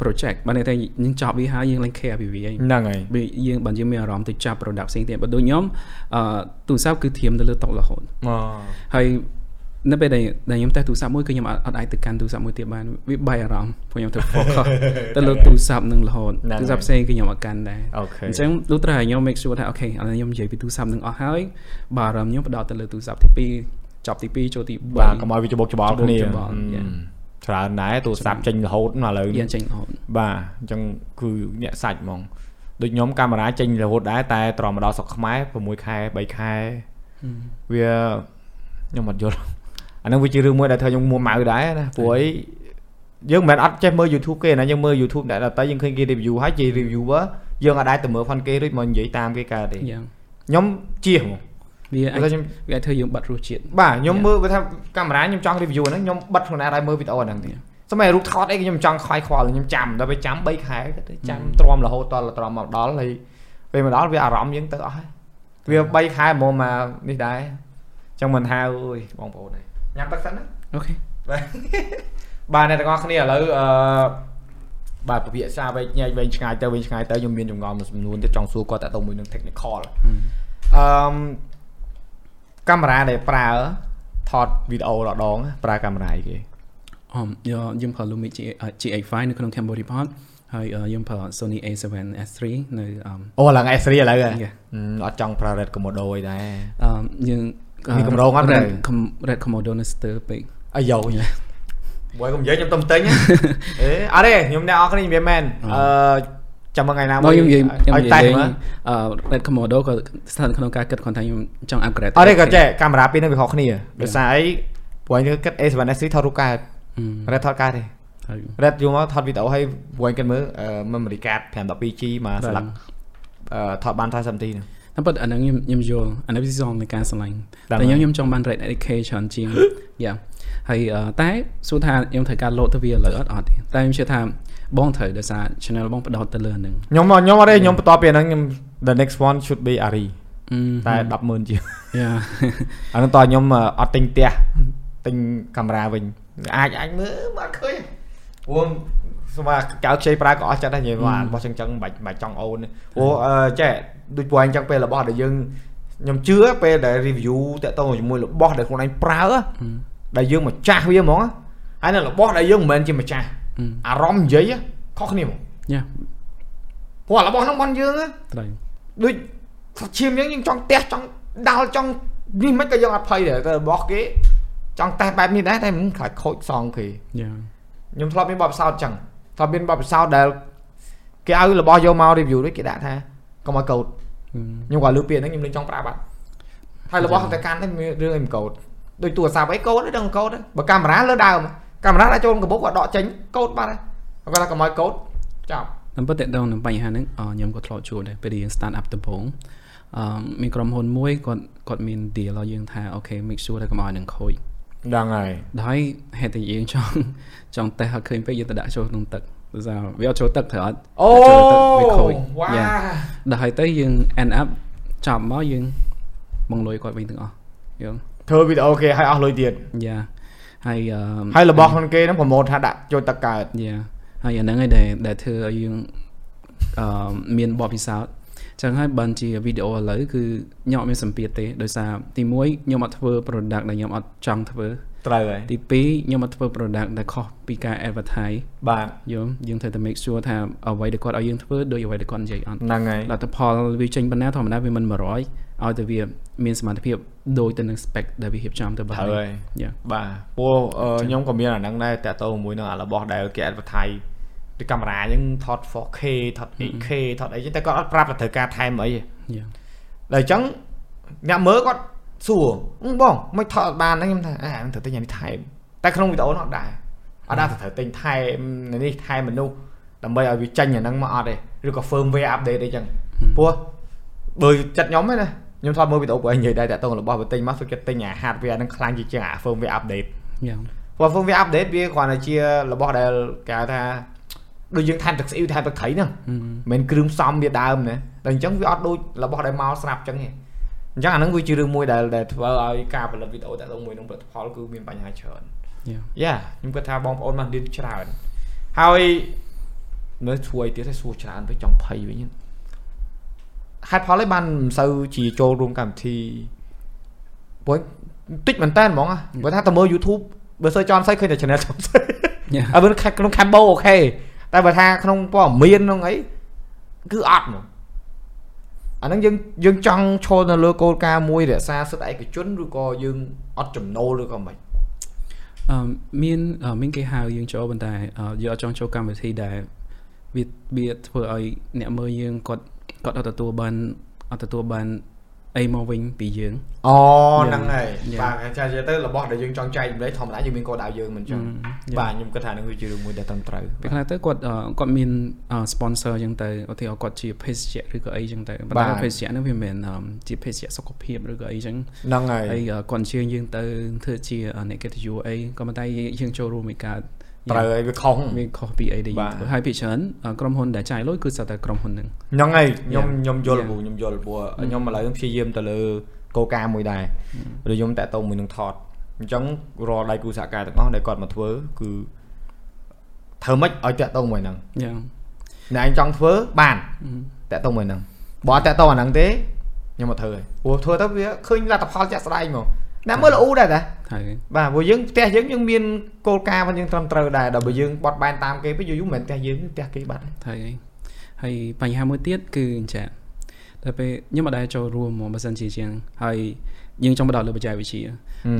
Speaker 2: project បានន័យថាយើងចប់វាហើយយើងឡើង care ពីវាហើយ
Speaker 1: ហ្នឹងហើយ
Speaker 2: វាយើងបានយើងមានអារម្មណ៍ទៅចាប់ product ផ្សេងទៀតបើដូចខ្ញុំអឺទូរស័ព្ទគឺធៀមទៅលើតុរហូត
Speaker 1: អូ
Speaker 2: ហើយនៅពេលដែលដែលខ្ញុំតេសទូរស័ព្ទមួយគឺខ្ញុំអត់អត់អាចទៅកាន់ទូរស័ព្ទមួយទៀតបានវាបែកអារម្មណ៍ព្រោះខ្ញុំត្រូវ focus ទៅលើទូរស័ព្ទនឹងរហូត
Speaker 1: ហ្នឹងហើយ
Speaker 2: ទូរស័ព្ទផ្សេងគឺខ្ញុំអត់កាន់ដែរ
Speaker 1: អូខេ
Speaker 2: អញ្ចឹងលុះត្រាឲ្យខ្ញុំ make sure ថាអូខេឥឡូវខ្ញុំនិយាយពីទូរស័ព្ទនឹងអស់ហើយបាទអារម្មណ៍ខ្ញុំផ្ដោតទៅលើទូរស័ព្ទទី2ចប់ទី2ចូលទី3
Speaker 1: បាទកុំឲ្យវាច្បុកច្បល់
Speaker 2: ច្បុក
Speaker 1: គ្នា
Speaker 2: ច្បល់
Speaker 1: អឺច្រើនដែរទូរស័ព្ទចេញរហូតមកឥឡូវ
Speaker 2: យ៉ាងចេញរហូត
Speaker 1: បាទអញ្ចឹងគឺអ្នកសាច់ហ្មងដូចខ្ញុំកាមេរ៉ាចេញរហូតដែរតែត្រមមកដល់ស្រុកខ្មែរ6ខែ3ខែវាខ្ញុំអត់យល់អាហ្នឹងវាជារឿងមួយដែលធ្វើខ្ញុំមួម៉ៅដែរណាព្រោះអីយើងមិនមែនអត់ចេះមើល YouTube គេណាយើងមើល YouTube អ្នកដទៃយើងឃើញគេ review ហើយជា reviewer យើងអាចដែរទៅមើល fan គេរួចមកនិយាយតាមគេកើតទេ
Speaker 2: យ៉ាង
Speaker 1: ខ្ញុំជៀសហ្មង
Speaker 2: វា
Speaker 1: ព្រោះ
Speaker 2: អាច
Speaker 1: ថាខ្ញុំ
Speaker 2: វាអាចធ្វើយើងបាត់រសជាតិ
Speaker 1: បាទខ្ញុំ
Speaker 2: Yeah.
Speaker 1: មើលបើថាកាមេរ៉ាខ្ញុំចង់ review ហ្នឹងខ្ញុំបិទខ្លួនឯងឲ្យមើលវីដេអូហ្នឹងទៀតសម័យរូបថតអីខ្ញុំចង់ខ្វាយខ្វល់ខ្ញុំចាំដល់ពេលចាំ3ខែគិតទៅចាំទ្រាំរហូតដល់ទ្រាំមកដល់ហើយពេលមកដល់វាអារម្មណ៍យើងទៅអស់ហើយវា3ខែហ្មងមកនេះដែរចឹងមិនថាអូយបងប្អូនឯងញ៉ាំទឹកសិនណា
Speaker 2: អូខេ
Speaker 1: បាទអ្នកទាំងអស់គ្នាឥឡូវអឺបាទពភាសាវែងញែកវែងឆ្ងាយទៅវែងឆ្ងាយទៅខ្ញុំមានចម្ងល់មួយចំនួនទៀតចង់សួរគាត់តទៅមួយនឹង technical អឺមកាមេរ៉ាដែលប្រើថតវីដេអូរដងប្រើកាមេរ៉ាអីគេ
Speaker 2: អមយកយើងប្រើ Lumix GA5 នៅក្នុង Cambodia Report ហើយអឺយើងប្រើ Sony A7S3 នៅអម
Speaker 1: អូឡើង S3 ឥឡូវហ៎
Speaker 2: Yeah.
Speaker 1: ហ៊ឹមអត់ចង់ប្រើ Red Komodo អីដែរ
Speaker 2: អឺយើង
Speaker 1: មានកម្រងអត់
Speaker 2: រ៉េត
Speaker 1: ដែរ
Speaker 2: Com- Red Komodo នៅស្ទើរពេក
Speaker 1: អាយ៉ូយបើខ្ញុំនិយាយខ្ញុំទំទិ (laughs) ញហ៎ អេអត់ទេខ្ញុំអ្នកអរគ្នានិយាយមែនអឺចាំមើលថ្ងៃណា
Speaker 2: មកខ្ញុំនិយាយ
Speaker 1: ឲ្យ
Speaker 2: ខ្ញុំនិ
Speaker 1: តែ
Speaker 2: យាយ
Speaker 1: មើល
Speaker 2: អឺ Red Komodo ក៏ស្ថិតក្នុងការគិតគាត់ថាខ្ញុំចង់ upgrade
Speaker 1: អត់ទេក៏ចេះកាមេរ៉ាពីរហ្នឹងវាខុសគ្នាដោយសារអីព្រោះឯងគិត A7S3 ថតរូបកើត Red ថតការទេ
Speaker 2: ហើយ
Speaker 1: Red យកមកថតវីដេអូឲ្យវិញគាត់មើលអឺ memory card 512G មកស្លឹកអឺថតបាន30នាទីហ្នឹង
Speaker 2: តាមពិតអាហ្នឹងខ្ញុំខ្ញុំយល់អានេះវាសងនៃការស្រឡាញ់
Speaker 1: តាម
Speaker 2: តែខ្ញុំខ្ញុំចង់បាន rate education ជាង យ៉ាហើយអឺតែសួរថាខ្ញុំត្រូវការលោតទៅវាឥឡូវអត់អត់ទេតែខ្ញុំជឿថាបងត្រូវដោយសារ channel បងផ្ដោតទៅលើអាហ្នឹង
Speaker 1: ខ្ញុំមកខ្ញុំអត់ទេខ្ញុំបន្តពីអាហ្នឹងខ្ញុំ the next one should be Ari តែ100,000ជាង
Speaker 2: យ៉ា (laughs)
Speaker 1: អានោះតខ្ញុំអឺអត់ទិញផ្ទះទិញកាមេរ៉ាវិញអាចអាចមើលមកឃើញព្រោះស្មាកៅខ្ចីប្រើក៏អស់ចិត្តដែរនិយាយបានរបស់ចឹងចឹងមិនបាច់មិនបាច់ចង់អូនទេព្រោះអឺចេះដូចពួកឯងចឹងពេលរបស់ដែលយើងខ្ញុំជឿពេលដែល review តាក់ទងជាមួយរបស់ដែលខ្លួនឯងប្រើហ៎ដែលយើងមកចាស់វាហ្មងហ៎ហើយនៅរបស់ដែលយើងមិនមែនជាម្ចាស់
Speaker 2: អឺ
Speaker 1: អារម្មណ៍និយាយហ៎ខុសគ្នាហ្មង
Speaker 2: យ៉ា
Speaker 1: ព្រោះអារបស់ហ្នឹងរបស់យើងហ៎
Speaker 2: ត្រូវ
Speaker 1: ដូចឈាមយើងយើងចង់ទះចង់ដាល់ចង់នេះមិនក៏យើងអត់ភ័យដែរតែរបស់គេចង់តេះបែបនេះដែរតែមិនខ្លាចខូចសងគេ
Speaker 2: យ៉ា
Speaker 1: ខ្ញុំធ្លាប់មានបទពិសោធន៍អញ្ចឹងធ្លាប់មានបទពិសោធន៍ដែលគេឲ្យរបស់យកមក review ដូចគេដាក់ថាកុំឲ្យកោត
Speaker 2: អឺ
Speaker 1: ខ្ញុំក៏លើពាក្យហ្នឹងខ្ញុំនឹងចង់ប្រាប់បាត់ហើយរបស់តែកាន់នេះមានរឿងអីមិនកោតដូចទូរស័ព្ទអីកោតទេដឹងកោតទេបើកាមេរ៉ាលើដើមកាមេរ៉ាដាក់ចូលក្នុងកាបូបក៏ដកចេញកោតបាត់ហើយគាត់ថាកុំឲ្យកោតចប់
Speaker 2: តាមពិតតកតងនឹងបញ្ហាហ្នឹងអឺខ្ញុំក៏ធ្លាប់ជួបដែរពេលដែលយើង start up ដំបូងអឺមានក្រុមហ៊ុនមួយគាត់គាត់មាន deal ឲ្យយើងថាអូខេ make sure ថាកុំឲ្យនឹងខូច
Speaker 1: ដឹងហើយ
Speaker 2: ដោយហេតុតែយើងចង់ (laughs) ចង់តេះឲ្យឃើញពេកយើងទៅដាក់ចូលក្នុងទឹកដូចថាវាអត់ចូលទឹកត្រូវអត់
Speaker 1: អូ
Speaker 2: ចូលទឹកវាខូច
Speaker 1: វ៉ា
Speaker 2: យ៉ាដល់ហើយទៅយើង end up ចប់មកយើងបងលុយគាត់វិញទាំងអស់យល់
Speaker 1: ធ្វើវីដេអូគេឲ្យអស់លុយទៀត
Speaker 2: យ៉ាហើយអឺ
Speaker 1: ហើយរបស់ខ្លួនគេហ្នឹងប្រម៉ូទថាដាក់ចូលទឹកកើត
Speaker 2: យ៉ាហើយអាហ្នឹងឯងដែលដែលធ្វើឲ្យយើងអឺមានបបពិសោធន៍ចឹងហើយបានជាវីដេអូឥឡូវគឺញោមអត់មានសម្ពាធទេដោយសារទី1ខ្ញុំអត់ធ្វើ product ដែលខ្ញុំអត់ចង់ធ្វើ
Speaker 1: ត្រូវហើយ
Speaker 2: ទី2ខ្ញុំអត់ធ្វើ product ដែលខុសពីការ advertise
Speaker 1: បាទ
Speaker 2: យល់យើងត្រូវតែ make sure ថាអ្វីដែលគាត់ឲ្យយើងធ្វើដូចអ្វីដែលគាត់និយាយអត់
Speaker 1: ហ្នឹងហើយ
Speaker 2: លទ្ធផលវាចេញប៉ុណ្ណាធម្មតាវាមិន100ឲ្យតែវាមានសមត្ថភាពដូចទៅនឹង spec ដែលវារៀបចំទៅបើ
Speaker 1: ត្រូវហើយ
Speaker 2: យ៉ា
Speaker 1: បាទព្រោះអឺខ្ញុំក៏មានអាហ្នឹងដែរតាក់ទងជាមួយនឹងអារបស់ដែលគេ advertise ពីកាមេរ៉ាហ្នឹងថត 4K ថត 8K ថតអីចឹងតែគាត់អត់ប្រាប់ថាត្រូវការថែមអីទេ
Speaker 2: យ៉ា
Speaker 1: ដល់អញ្ចឹងអ្នកមើលគាត់សួរអឺបងមិនថតអត់បានហ្នឹងខ្ញុំថាអាហ្នឹងត្រូវទិញអានេះថែមតែក្នុងវីដេអូហ្នឹងអត់ដែរអត់ដែរថាត្រូវទិញថែមនេះថែមមនុស្សដើម្បីឲ្យវាចេញអាហ្នឹងមកអត់ទេឬក៏ firmware update អីចឹងព្រោះ បើចិត្តខ្ញុំហ្នឹងណាខ្ញុំធ្លាប់មើលវីដេអូពួកឯងនិយាយដែរតាក់ទងរបស់បើទិញមកសុខចិត្តទិញអា hardware ហ្នឹងខ្លាំងជាជាងអា firmware update
Speaker 2: យ៉ា
Speaker 1: ព្រោះ firmware update វាគ្រាន់តែជារបស់ដែលគេហៅថាដូចយើងថែមទឹកស្អ៊ីវថែមទឹកត្រីហ្នឹងមិនមែនគ្រឿងផ្សំវាដើមណាតែអញ្ចឹងវាអត់ដូចរបស់ដែលមកស្រាប់អញ្ចឹងទេអញ្ចឹងអាហ្នឹងវាជារឿងមួយដែលដែលធ្វើឲ្យការផលិតវីដេអូតាក់ទងមួយនឹងផលិតផលគឺមានបញ្ហាច្រើន
Speaker 2: យ៉ា
Speaker 1: យ៉ាខ្ញុំគិតថាបងប្អូនបានរៀនច្រើនហើយមើលជួយទៀតឲ្យសួរច្រើនទៅចង់ភ័យវិញហ្នឹងហេតុផលឯងបានមិនសូវជាចូលរួមកម្មវិធីព្រោះតិចមែនតើហ្មងហ៎បើថាតើមើល YouTube បើសើចចំសៃឃើញតែ channel ចំសៃ
Speaker 2: យ៉ា
Speaker 1: (laughs) អើបើខាត់ក្នុង Cambo អូខេតែបើថាក្នុងព័ត៌មានក្នុងអីគឺអត់ហ្មងអាហ្នឹងយើងយើងចង់ឈលនៅលើគោលការណ៍មួយរក្សាសិទ្ធិឯកជនឬក៏យើងអត់ចំណូលឬក៏មិន
Speaker 2: អឺមានអឺមានគេហៅយើងចូលប៉ុន្តែអឺយើងអត់ចង់ចូលកម្មវិធីដែលវាវាធ្វើឲ្យអ្នកមើលយើងគាត់គាត់អត់ទទួលបានអត់ទទួលបានអីមកវិញពីយើង
Speaker 1: អូ
Speaker 2: យ៉ា
Speaker 1: ហ្នឹងហើយ
Speaker 2: យ៉ា
Speaker 1: បាទចានិយាយទៅរបស់ដែលយើងចង់ចែករំលែកធម្មតាយើងមានកោដដៅយើងមិនចឹង
Speaker 2: យ៉ា
Speaker 1: បាទខ្ញុំគិតថានឹងវាជារឿងមួយដែលត្រឹមត្រូវ
Speaker 2: ពេលខ្លះទៅគាត់អឺគាត់មានអឺ sponsor អញ្ចឹងទៅឧទាហរណ៍គាត់ជាភេសជ្ជៈឬក៏អីអញ្ចឹងទៅប៉ុន្តែភេសជ្ជៈហ្នឹងវាមិនមែនអឺជាភេសជ្ជៈសុខភាពឬក៏អីអញ្ចឹង
Speaker 1: ហ្នឹងហើយ
Speaker 2: ហើយអឺគាត់អញ្ជើញយើងទៅធ្វើជាអឺអ្នកកិត្តិយសអីក៏ប៉ុន្តែយើងចូលរួមមិនកើត
Speaker 1: ត្រូវហើយវាខុស
Speaker 2: វាខុសពីអីដែល
Speaker 1: បា
Speaker 2: យើង
Speaker 1: ទ
Speaker 2: ធ្វើហើយពីច្រើនអឺក្រុមហ៊ុនដែលចាយលុយគឺស្ទើរតែក្រុមហ៊ុនហ្នឹង
Speaker 1: ហ្នឹងហើយខ្ញុំ
Speaker 2: យ៉ា
Speaker 1: ខ្ញុំយល់
Speaker 2: យ៉ា
Speaker 1: ព្រោះខ្ញុំយល់ព្រោះខ្ញុំឥឡូវខ្ញុំព្យាយាមទៅលើគោលការណ៍មួយដែរដូចខ្ញុំតាក់ទងមួយនឹងថតអញ្ចឹងរាល់ដៃគូសហការទាំងអស់ដែលគាត់មកធ្វើគឺធ្វើម៉េចឲ្យតាក់ទងមួយហ្នឹង
Speaker 2: យ៉ាង
Speaker 1: អ្នកឯងចង់ធ្វើបានតាក់ទងមួយហ្នឹងបើអត់តាក់ទងអាហ្នឹងទេខ្ញុំមកធ្វើហើយព្រោះធ្វើទៅវាឃើញលទ្ធផលជាក់ស្ដែងហ្មងណាមើលល្អដែរតា
Speaker 2: ហើយ
Speaker 1: បាទព្រោះយើងផ្ទះយើងយើងមានគោលការណ៍របស់យើងត្រឹមត្រូវដែរដល់បើយើងបត់បែនតាមគេពេលយូរយូរមិនមែនផ្ទះយើងទេផ្ទះគេបាត់ហើយ
Speaker 2: ហើយហើយបញ្ហាមួយទៀតគឺអញ្ចឹងតែពេលខ្ញុំអត់ដែលចូលរួមហ្មកបើសិនជាជាងហើយយើងចង់បដោតលើបច្ចេកវិទ្យា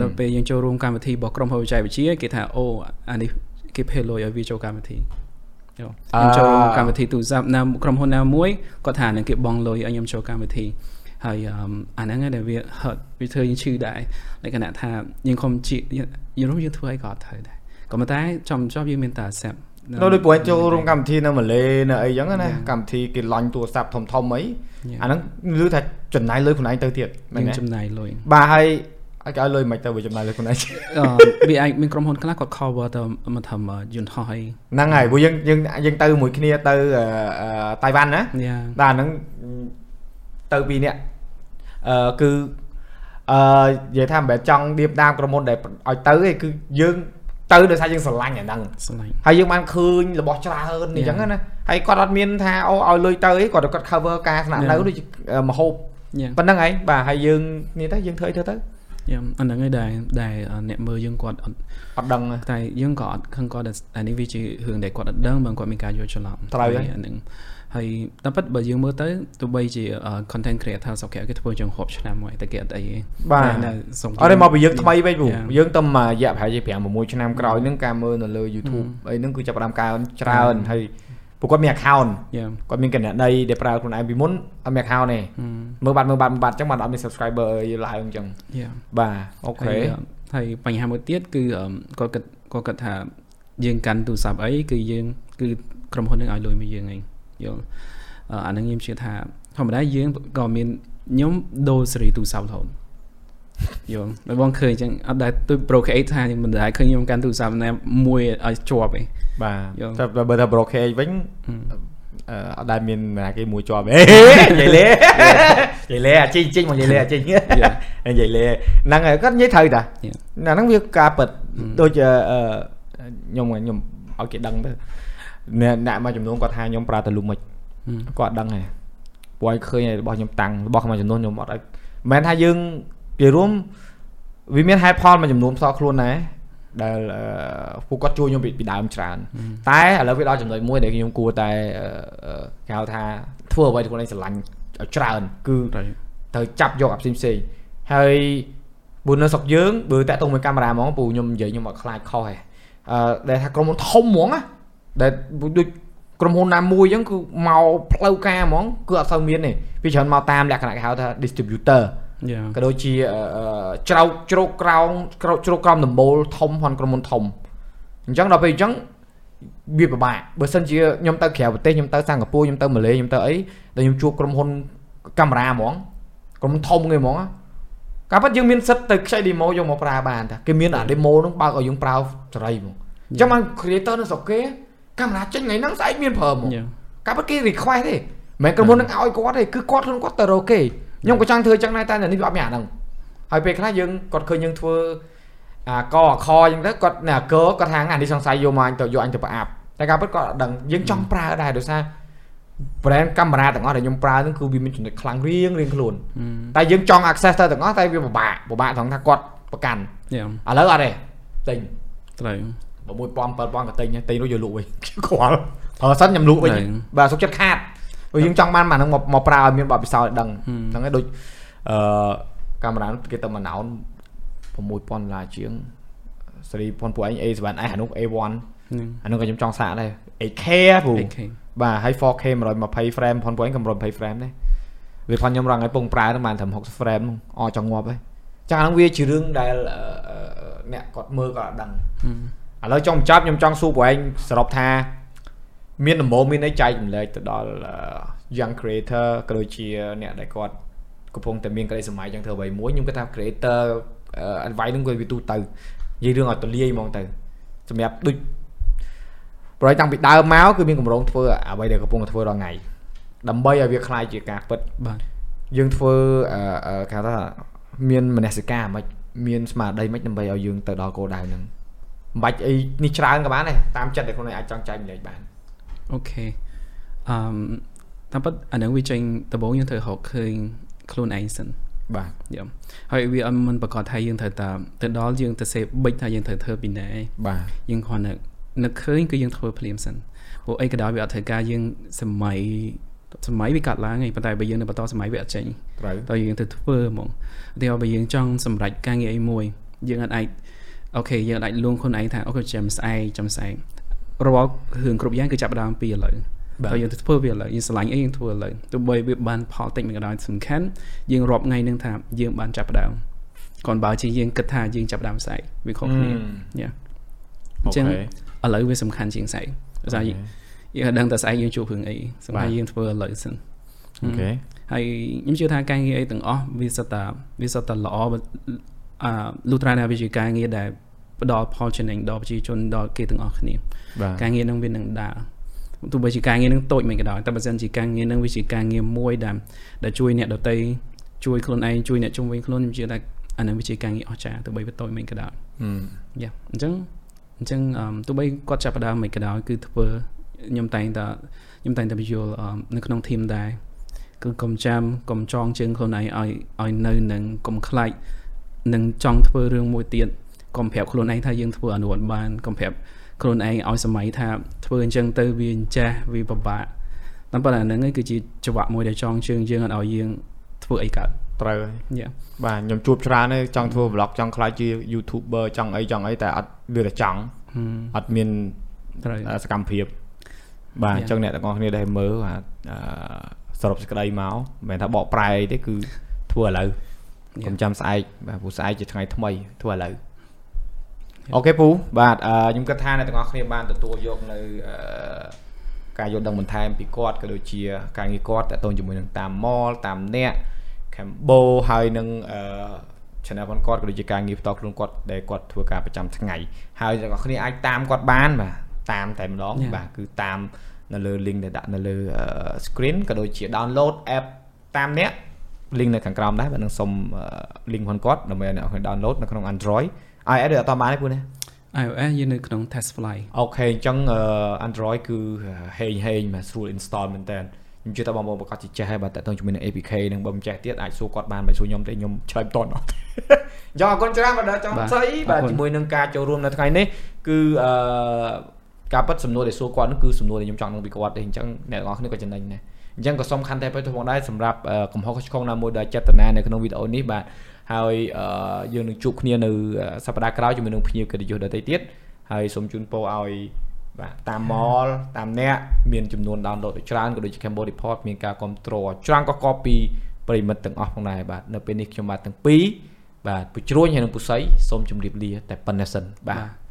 Speaker 2: ដល់ពេលយើងចូលរួមកម្មវិធីរបស់ក្រុមហ៊ុនបច្ចេកវិទ្យាគេថាអូអានេះគេផេលុយឲ្យវាចូលកម្មវិធីយល់ខ្ញុំចូលរួមកម្មវិធីទូរស័ព្ទណាក្រុមហ៊ុនណាមួយគាត់ថានឹងគេបង់លុយឲ្យខ្ញុំចូលកម្មវិធីហើយអឺមអាហ្នឹងឯងដែលវា hurt វាធ្វើយើងឈឺដែរលក្ខណៈថាយើងខំជាយើងយើងយើងធ្វើអីក៏អត់ត្រូវដែរ ក៏ប៉ុន្តែចំចំយើងមានតែ accept
Speaker 1: នៅដូចពួកឯងចូលរួមកម្មវិធីនៅម៉ាឡេនៅអីចឹងណាកម្មវិធីគេឡាញ់ទូរស័ព្ទធំធំអីអាហ្នឹងលឺថាចំណាយលុយខ្លួនឯងទៅទៀតមែន
Speaker 2: យើង
Speaker 1: ទេ
Speaker 2: ចំណាយលុយ
Speaker 1: បាទហើយឲ្យគេឲ្យលុយមិនទៅវាចំណាយលុយខ្លួនឯង
Speaker 2: អឺវាអាចមានក្រុមហ៊ុនខ្លះគាត់ cover ទៅមកធ្វើមកយន្តហោះអី
Speaker 1: ហ្នឹងហើយពួកយើងយើងយើងទៅមួយគ្នាទៅអឺអឺតៃវ៉ាន់ណា
Speaker 2: យ៉ា
Speaker 1: បាទហ្នឹងទៅពីរនាក់អឺគឺអឺនិយាយថាមិនបែរចង់ដៀបតាមក្រុមហ៊ុនដែលឲ្យទៅទេគឺយើងទៅដោយសារយើងស្រឡាញ់អាហ្នឹង
Speaker 2: ស្លាញ់
Speaker 1: ហើយយើងបានឃើញរបស់ច្រើនអ
Speaker 2: Yeah.
Speaker 1: ញ្ចឹងណាហើយគាត់អត់មានថាអូឲ្យលុយទៅអីគាត់គាត់ cover ការស្នាក់នៅ
Speaker 2: Yeah.
Speaker 1: ដូចមហូប
Speaker 2: យ៉ា
Speaker 1: ប៉ុណ្្នឹងឯងបាទហើយយើងនិយាយទៅយើងធ្វើអីធ្វើទៅ
Speaker 2: យ៉ាអាហ្នឹងឯងដែរដែលអឺអ្នកមើលយើងគាត់អត់
Speaker 1: អត់ដឹងទេ
Speaker 2: តែយើងក៏អត់ខឹងគាត់ដែរអានេះវាជារឿងដែលគាត់អត់ដឹងបើគាត់មានការយល់ច្រឡំ
Speaker 1: ត្រូវហើយ
Speaker 2: អាហ្នឹងហើយតាមពិតបើយើងមើលទៅទោះបីជាអឺ content creator សកលគេធ្វើជាងរាប់ឆ្នាំមកតែគេអត់អីទេ
Speaker 1: បាទ
Speaker 2: តែនៅសុំ
Speaker 1: អរិមកពីយើងថ្មីវិញព្រោះ
Speaker 2: Yeah.
Speaker 1: យើងទៅមករយៈប្រហែលជា5 6ឆ្នាំក្រោយហ្នឹងការមើលនៅលើ YouTube អីហ្នឹងគឺចាប់ផ្ដើមកើនច្រើនហើយពួកគាត់មាន account
Speaker 2: យ៉ា
Speaker 1: គាត់មានកណនីដែលប្រើខ្លួនឯងពីមុនអត់មាន account ទេមើលបាត់មើលបាត់មើលបាត់អញ្ចឹងបានអត់មាន subscriber អីឡើងអញ្ចឹង
Speaker 2: យ៉ា
Speaker 1: បាទអូខេ
Speaker 2: ហើយហើយបញ្ហាមួយទៀតគឺអឺមគាត់គិតគាត់គិតថាយើងកាន់ទូរស័ព្ទអីគឺយើងគឺក្រុមហ៊ុននឹងឲ្យលុយមកយើងឯងយល់អឺអាហ្នឹងខ្ញុំជឿថាធម្មតាយើងក៏មានខ្ញុំដូរសេរីទូរស័ព្ទរហូតយល់តែបងឃើញអញ្ចឹងអត់ដែលទូ procreate ថាខ្ញុំមិនដែលឃើញខ្ញុំកាន់ទូរស័ព្ទណាមួយឲ្យជាប់ឯង
Speaker 1: បាទ
Speaker 2: យល់
Speaker 1: តែបើថា brokerage វិញអឺអត់ដែលមានណាគេមួយជាប់អេ និយាយលេនិយាយលេអាជីងជីងមកនិយាយលេអាជីង និយាយលេហ្នឹងហើយគាត់និយាយត្រូវតា
Speaker 2: Yeah.
Speaker 1: ណាហ្នឹងវាការពិតដូចអឺខ្ញុំខ្ញុំឲ្យគេដឹងទៅអ្នកអ្នកមួយចំនួនគាត់ថាខ្ញុំប្រើតែលុមិន
Speaker 2: ហឹម
Speaker 1: គាត់ដឹងហើយព្រោះឲ្យឃើញហើយរបស់ខ្ញុំតាំងរបស់មួយចំនួនខ្ញុំអត់ឲ្យមិនមែនថាយើងនិយាយរួមវាមានហេតុផលមួយចំនួនផ្ទាល់ខ្លួនដែរដែលអឺពួកគាត់ជួយខ្ញុំពីពីដើមច្រើន តែឥឡូវវាដល់ចំណុចមួយដែលខ្ញុំគួរតែអឺគេហៅថាធ្វើអ្វីដែលខ្លួនឯងស្រឡាញ់ឲ្យច្រើនគឺ
Speaker 2: ត្រូវ
Speaker 1: ត្រូវចាប់យកអាផ្សេងផ្សេងៗហើយបើនៅស្រុកយើងបើតាក់ទងមួយកាមេរ៉ាហ្មងពូខ្ញុំនិយាយខ្ញុំអត់ខ្លាចខុសទេអឺដែលថាក្រុមហ៊ុនធំហ្មងណាដែលដូចក្រុមហ៊ុនណាមួយអញ្ចឹងគឺមកផ្លូវការហ្មងគឺអត់សូវមានទេវាច្រើនមកតាមលក្ខណៈគេហៅថា distributor
Speaker 2: យ៉ា
Speaker 1: ក៏ដូចជាអឺច្រោកជ្រោកក្រោងក្រោកជ្រោកក្រោមដំបូលធំហ្នឹងក្រុមហ៊ុនធំអញ្ចឹងដល់ពេលអញ្ចឹងវាពិបាកបើសិនជាខ្ញុំទៅក្រៅប្រទេសខ្ញុំទៅសិង្ហបុរីខ្ញុំទៅម៉ាឡេខ្ញុំទៅអីដល់ខ្ញុំជួបក្រុមហ៊ុនកាមេរ៉ាហ្មងក្រុមហ៊ុនធំគេហ្មងណាការពិតយើងមានសិទ្ធទៅខ្ចី demo យកមកប្រើបានតាគេមានអា demo ហ្នឹងបើកឲ្យយើងប្រើសេរីហ្មងអញ្ចឹងបាន creator នៅស្រុកគេកាមេរ៉ាចេញថ្ងៃហ្នឹងស្អែកមានប្រើហ្មង
Speaker 2: យ៉ា
Speaker 1: កាប់គេ request ទេមិនមែនក្រុមហ៊ុននឹងឲ្យគាត់ទេគឺគាត់ខ្លួនគាត់ទៅរកគេខ្ញុំក៏ចង់ធ្វើចឹងដែរតែនៅនេះវាអត់មានអាហ្នឹងហើយពេលខ្លះយើងគាត់ឃើញយើងធ្វើអាកអខចឹងទៅគាត់ណាកគាត់ថាអានេះសង្ស័យយកមកអញទៅយកអញទៅប្រអាប់តែការពិតគាត់អត់ដឹងយើងចង់ប្រើដែរដោយសារ brand កាមេរ៉ាទាំងអស់ដែលខ្ញុំប្រើហ្នឹងគឺវាមានចំណុចខ្លាំងរៀងរៀងខ្លួន
Speaker 2: ហឹម
Speaker 1: តែយើងចង់ access ទៅទាំងអស់តែវាពិបាកពិបាកត្រង់ថាគាត់ប្រកាន់
Speaker 2: យ៉ា
Speaker 1: ឥឡូវអត់ទេទិញ
Speaker 2: ត្រូវ
Speaker 1: 6000 7000ក៏ទិញដែរទិញរួចយកលក់វិញ (laughs) ខ្វល់ប្រើសិនខ្ញុំលក់វិញ
Speaker 2: ហ្នឹង
Speaker 1: បាទសុខចិត្តខាតព្រោះយើងចង់បានអាហ្នឹងមកមកប្រើឲ្យមានបទពិសោធន៍ឲ្យដឹងហ្នឹងហើយដូចអឺកាមេរ៉ានោះគេទៅមួយណោន6000ដុល្លារជាងសេរីប៉ុនពួកឯង A7S អានោះ A1
Speaker 2: ហ្នឹង
Speaker 1: អានោះក៏ខ្ញុំចង់សាកដែរ 8K ព្រោះ
Speaker 2: 8K
Speaker 1: បាទហើយ 4K 120 frame ប៉ុនពួកឯងក៏120 frame ដែរវាផងខ្ញុំរងឲ្យពងប្រើទៅបានត្រឹម60 frame ហ្នឹងអត់ចង់ងាប់ហើយចាអាហ្នឹងវាជារឿងដែលអឺអឺអ្នកគាត់មើលក៏អត់ដឹង
Speaker 2: ហឹម
Speaker 1: ឥឡូវចង់បញ្ចប់ខ្ញុំចង់សួរពួកឯងសរុបថា មានដំបូងមានអីចែកចម្លែកទៅដល់អឺ young creator ក៏ដូចជាអ្នកដែលគាត់កំពុងតែមានក្តីសម័យចង់ធ្វើអ្វីមួយខ្ញុំគិតថា creator អឺ advice ហ្នឹងគឺវាទូទៅនិយាយរឿងឲ្យទលាយហ្មងទៅសម្រាប់ដូចប្រហែលតាំងពីដើមមកគឺមានកម្រងធ្វើអ្វីដែលកំពុងតែធ្វើរាល់ថ្ងៃដើម្បីឲ្យវាคล้ายជាការពិត
Speaker 2: បាទ
Speaker 1: យើងធ្វើអឺអឺគេហៅថាមានមនសិការហ្មងមានស្មារតីហ្មងដើម្បីឲ្យយើងទៅដល់គោលដៅហ្នឹងមិនបាច់អីនេះច្រើនក៏បានដែរតាមចិត្តដែលខ្លួនឯងអាចចង់ចែកម្លែកបាន
Speaker 2: អូខេអឺមតាមពិតអាហ្នឹងវាចេញដំបូងយើងត្រូវរកឃើញខ្លួនឯងសិន
Speaker 1: បាទ
Speaker 2: យ៉ាហើយវាអត់មិនប្រកាសថាយើងត្រូវតាទៅដល់យើងទៅសេបិចថាយើងត្រូវធ្វើពីណាឯង
Speaker 1: បាទ
Speaker 2: យើងគ្រាន់តែនឹកឃើញគឺយើងធ្វើភ្លាមសិនព្រោះអីក៏ដោយវាអត់ត្រូវការយើងសម័យសម័យវាកាត់ឡើងឯងប៉ុន្តែបើយើងនៅបន្តសម័យវាអត់ចេញ
Speaker 1: ត្រូវ
Speaker 2: តើយើងទៅធ្វើហ្មងឧទាហរណ៍បើយើងចង់សម្រេចការងារអីមួយយើងអត់អាចអូខេយើងអត់អាចលួងខ្លួនឯងថាអូខេចាំស្អែកចាំស្អែករាល់រឿងគ្រប់យ៉ាងគឺចាប់ផ្ដើមពីឥឡូវតើយើងទៅធ្វើវាឥឡូវយើងស្រឡាញ់អីយើងធ្វើឥឡូវទោះបីវាបានផលតិចមិនក៏ដោយសំខាន់យើងរាប់ថ្ងៃនឹងថាយើងបានចាប់ផ្ដើមគាត់បើជាយើងគិតថាយើងចាប់ផ្ដើមស្អែកវាខុសគ្នាយ៉ា អញ្ចឹងឥឡូវវាសំខាន់ជាងស្អែកដោយសារយើងដឹងតែស្អែកយើងជួបរឿងអីសំខាន់យើងធ្វើឥឡូវសិន
Speaker 1: អូខេ
Speaker 2: ហើយខ្ញុំជឿថាការងារអីទាំងអស់វាសិតតាវាសិតតាល្អអឺលុះត្រាណាវាជាការងារដែលផ្ដល់ផល challenge ដល់ប្រជាជនដល់គេទាំងអស់គ្នា
Speaker 1: បាទ
Speaker 2: ការងារនឹងវានឹងដើរទោះបីជាការងារនឹងតូចមិនក៏ដោយតែបើសិនជាការងារនឹងវាជាការងារមួយដែលដែលជួយអ្នកដទៃជួយខ្លួនឯងជួយអ្នកជុំវិញខ្លួនខ្ញុំជឿថាអានឹងវាជាការងារអស្ចារ្យទោះបីវាតូចមិនក៏ដោយ
Speaker 1: ហឹម
Speaker 2: យ៉ាអញ្ចឹងអញ្ចឹងអឺទោះបីគាត់ចាប់ផ្ដើមមិនក៏ដោយគឺធ្វើខ្ញុំតែងតែខ្ញុំតែងតែបញ្យល់អឺនៅក្នុង team ដែរគឺកុំចាំកុំចងជើងខ្លួនឯងឲ្យឲ្យនៅនឹងកុំខ្លាចនឹងចង់ធ្វើរឿងមួយទៀតកុំប្រាប់ខ្លួនឯងថាយើងធ្វើអនុវត្តបានកុំប្រាប់ខ្លួនឯងឲ្យសម័យថាធ្វើអញ្ចឹងទៅវាអញ្ចាស់វាពិបាកតាមប៉ុន្តែហ្នឹងឯងគឺជាចង្វាក់មួយដែលចងជើងយើងអត់ឲ្យយើងធ្វើអីកើត
Speaker 1: ត្រូវហើយ
Speaker 2: យ៉ា
Speaker 1: បាទខ្ញុំជួបច្រើនហើយចង់ធ្វើ vlog ចង់ខ្លាចជា YouTuber ចង់អីចង់អីតែអត់លឺតែចង់
Speaker 2: ហឹម
Speaker 1: អត់មាន
Speaker 2: ត្រូវ
Speaker 1: សកម្មភាព បាទអ
Speaker 2: Yeah.
Speaker 1: ញ្ចឹងអ្នកទាំងអស់គ្នាដែលមើលអាអឺសរុបសេចក្តីមកមិនមែនថាបកប្រែអីទេគឺធ្វើឥឡូវ
Speaker 2: Yeah.
Speaker 1: កុំចាំស្អែកបាទពូស្អែកជាថ្ងៃថ្មីធ្វើឥឡូវអូខេពូបាទអឺខ្ញុំគិតថាអ្នកទាំងអស់គ្នាបានទទួលយកនៅអឺការយល់ដឹងបន្ថែមពីគាត់ក៏ដូចជាការងារគាត់តកតងជាមួយនឹងតាមម៉លតាមអ្នកកម្ពុជាហើយនឹងអឺ channel របស់គាត់ក៏ដូចជាការងារផ្ទាល់ខ្លួនគាត់ដែលគាត់ធ្វើការប្រចាំថ្ងៃហើយអ្នកទាំងអស់គ្នាអាចតាមគាត់បានបាទតាមតែម្ដង
Speaker 2: Yeah.
Speaker 1: បាទគឺតាមនៅលើ link ដែលដាក់នៅលើអឺ screen ក៏ដូចជា download app តាមអ្នក link នៅខាងក្រោមដែរបាទនឹងសុំអឺ link របស់គាត់ដើម្បីឲ្យអ្នកនរគ្នា download នៅក្នុង Android iOS ដូចអត់តាមបានទេពូណា
Speaker 2: iOS យើងនៅក្នុង test flight
Speaker 1: អូខេអញ្ចឹងអឺ Android គឺហេងហេងៗបាទស្រួល install មែនតើខ្ញុំជឿថាបងប្អូនប្រកាសជាចេះហើយបាទតើតើជាមួយនឹង APK នឹងបើមិនចេះទៀតអាចសួរគាត់បានមិនសួរខ្ញុំទេខ្ញុំឆ្លើយមិនត (laughs) ន់អត់ អញ្ចឹងអរគុណច្រើនបាទដល់ចង់
Speaker 2: បាទ
Speaker 1: ស្អីបាទ
Speaker 2: អរគុណ
Speaker 1: ជាមួយនឹងការចូលរួមនៅថ្ងៃនេះគឺអឺការប៉ັດសំណួរដែលសួរគាត់នោះគឺសំណួរដែលខ្ញុំចង់នឹងពីគាត់ទេអញ្ចឹងអ្នកទាំងអស់គ្នាក៏ចំណេញដែរអញ្ចឹងក៏សុំខន្តីអភ័យទោសផងដែរសម្រាប់អឺកំហុសឆ្គងណាមួយដែលចេតនានៅក្នុងវីដេអូនេះបាទហើយអឺយើងនឹងជួបគ្នានៅអឺសប្តាហ៍ក្រោយជាមួយនឹងភ្ញៀវកិត្តិយសដទៃទៀត ហើយសូមជូនពរឲ្យបាទតាមមលតាមអ្នកមានចំនួន download ដូចច្រើនក៏ដូចជា Cambodia Report មានការគ្រប់គ្រងច្រើនក៏កប់ពីប្រិមិត្តទាំងអស់ផងដែរបាទនៅពេលនេះខ្ញុំបាទទាំងពីរបាទពូជ្រួញហើយនិងពូសីសូមជម្រាបលាតែប៉ុណ្ណេះសិនបាទ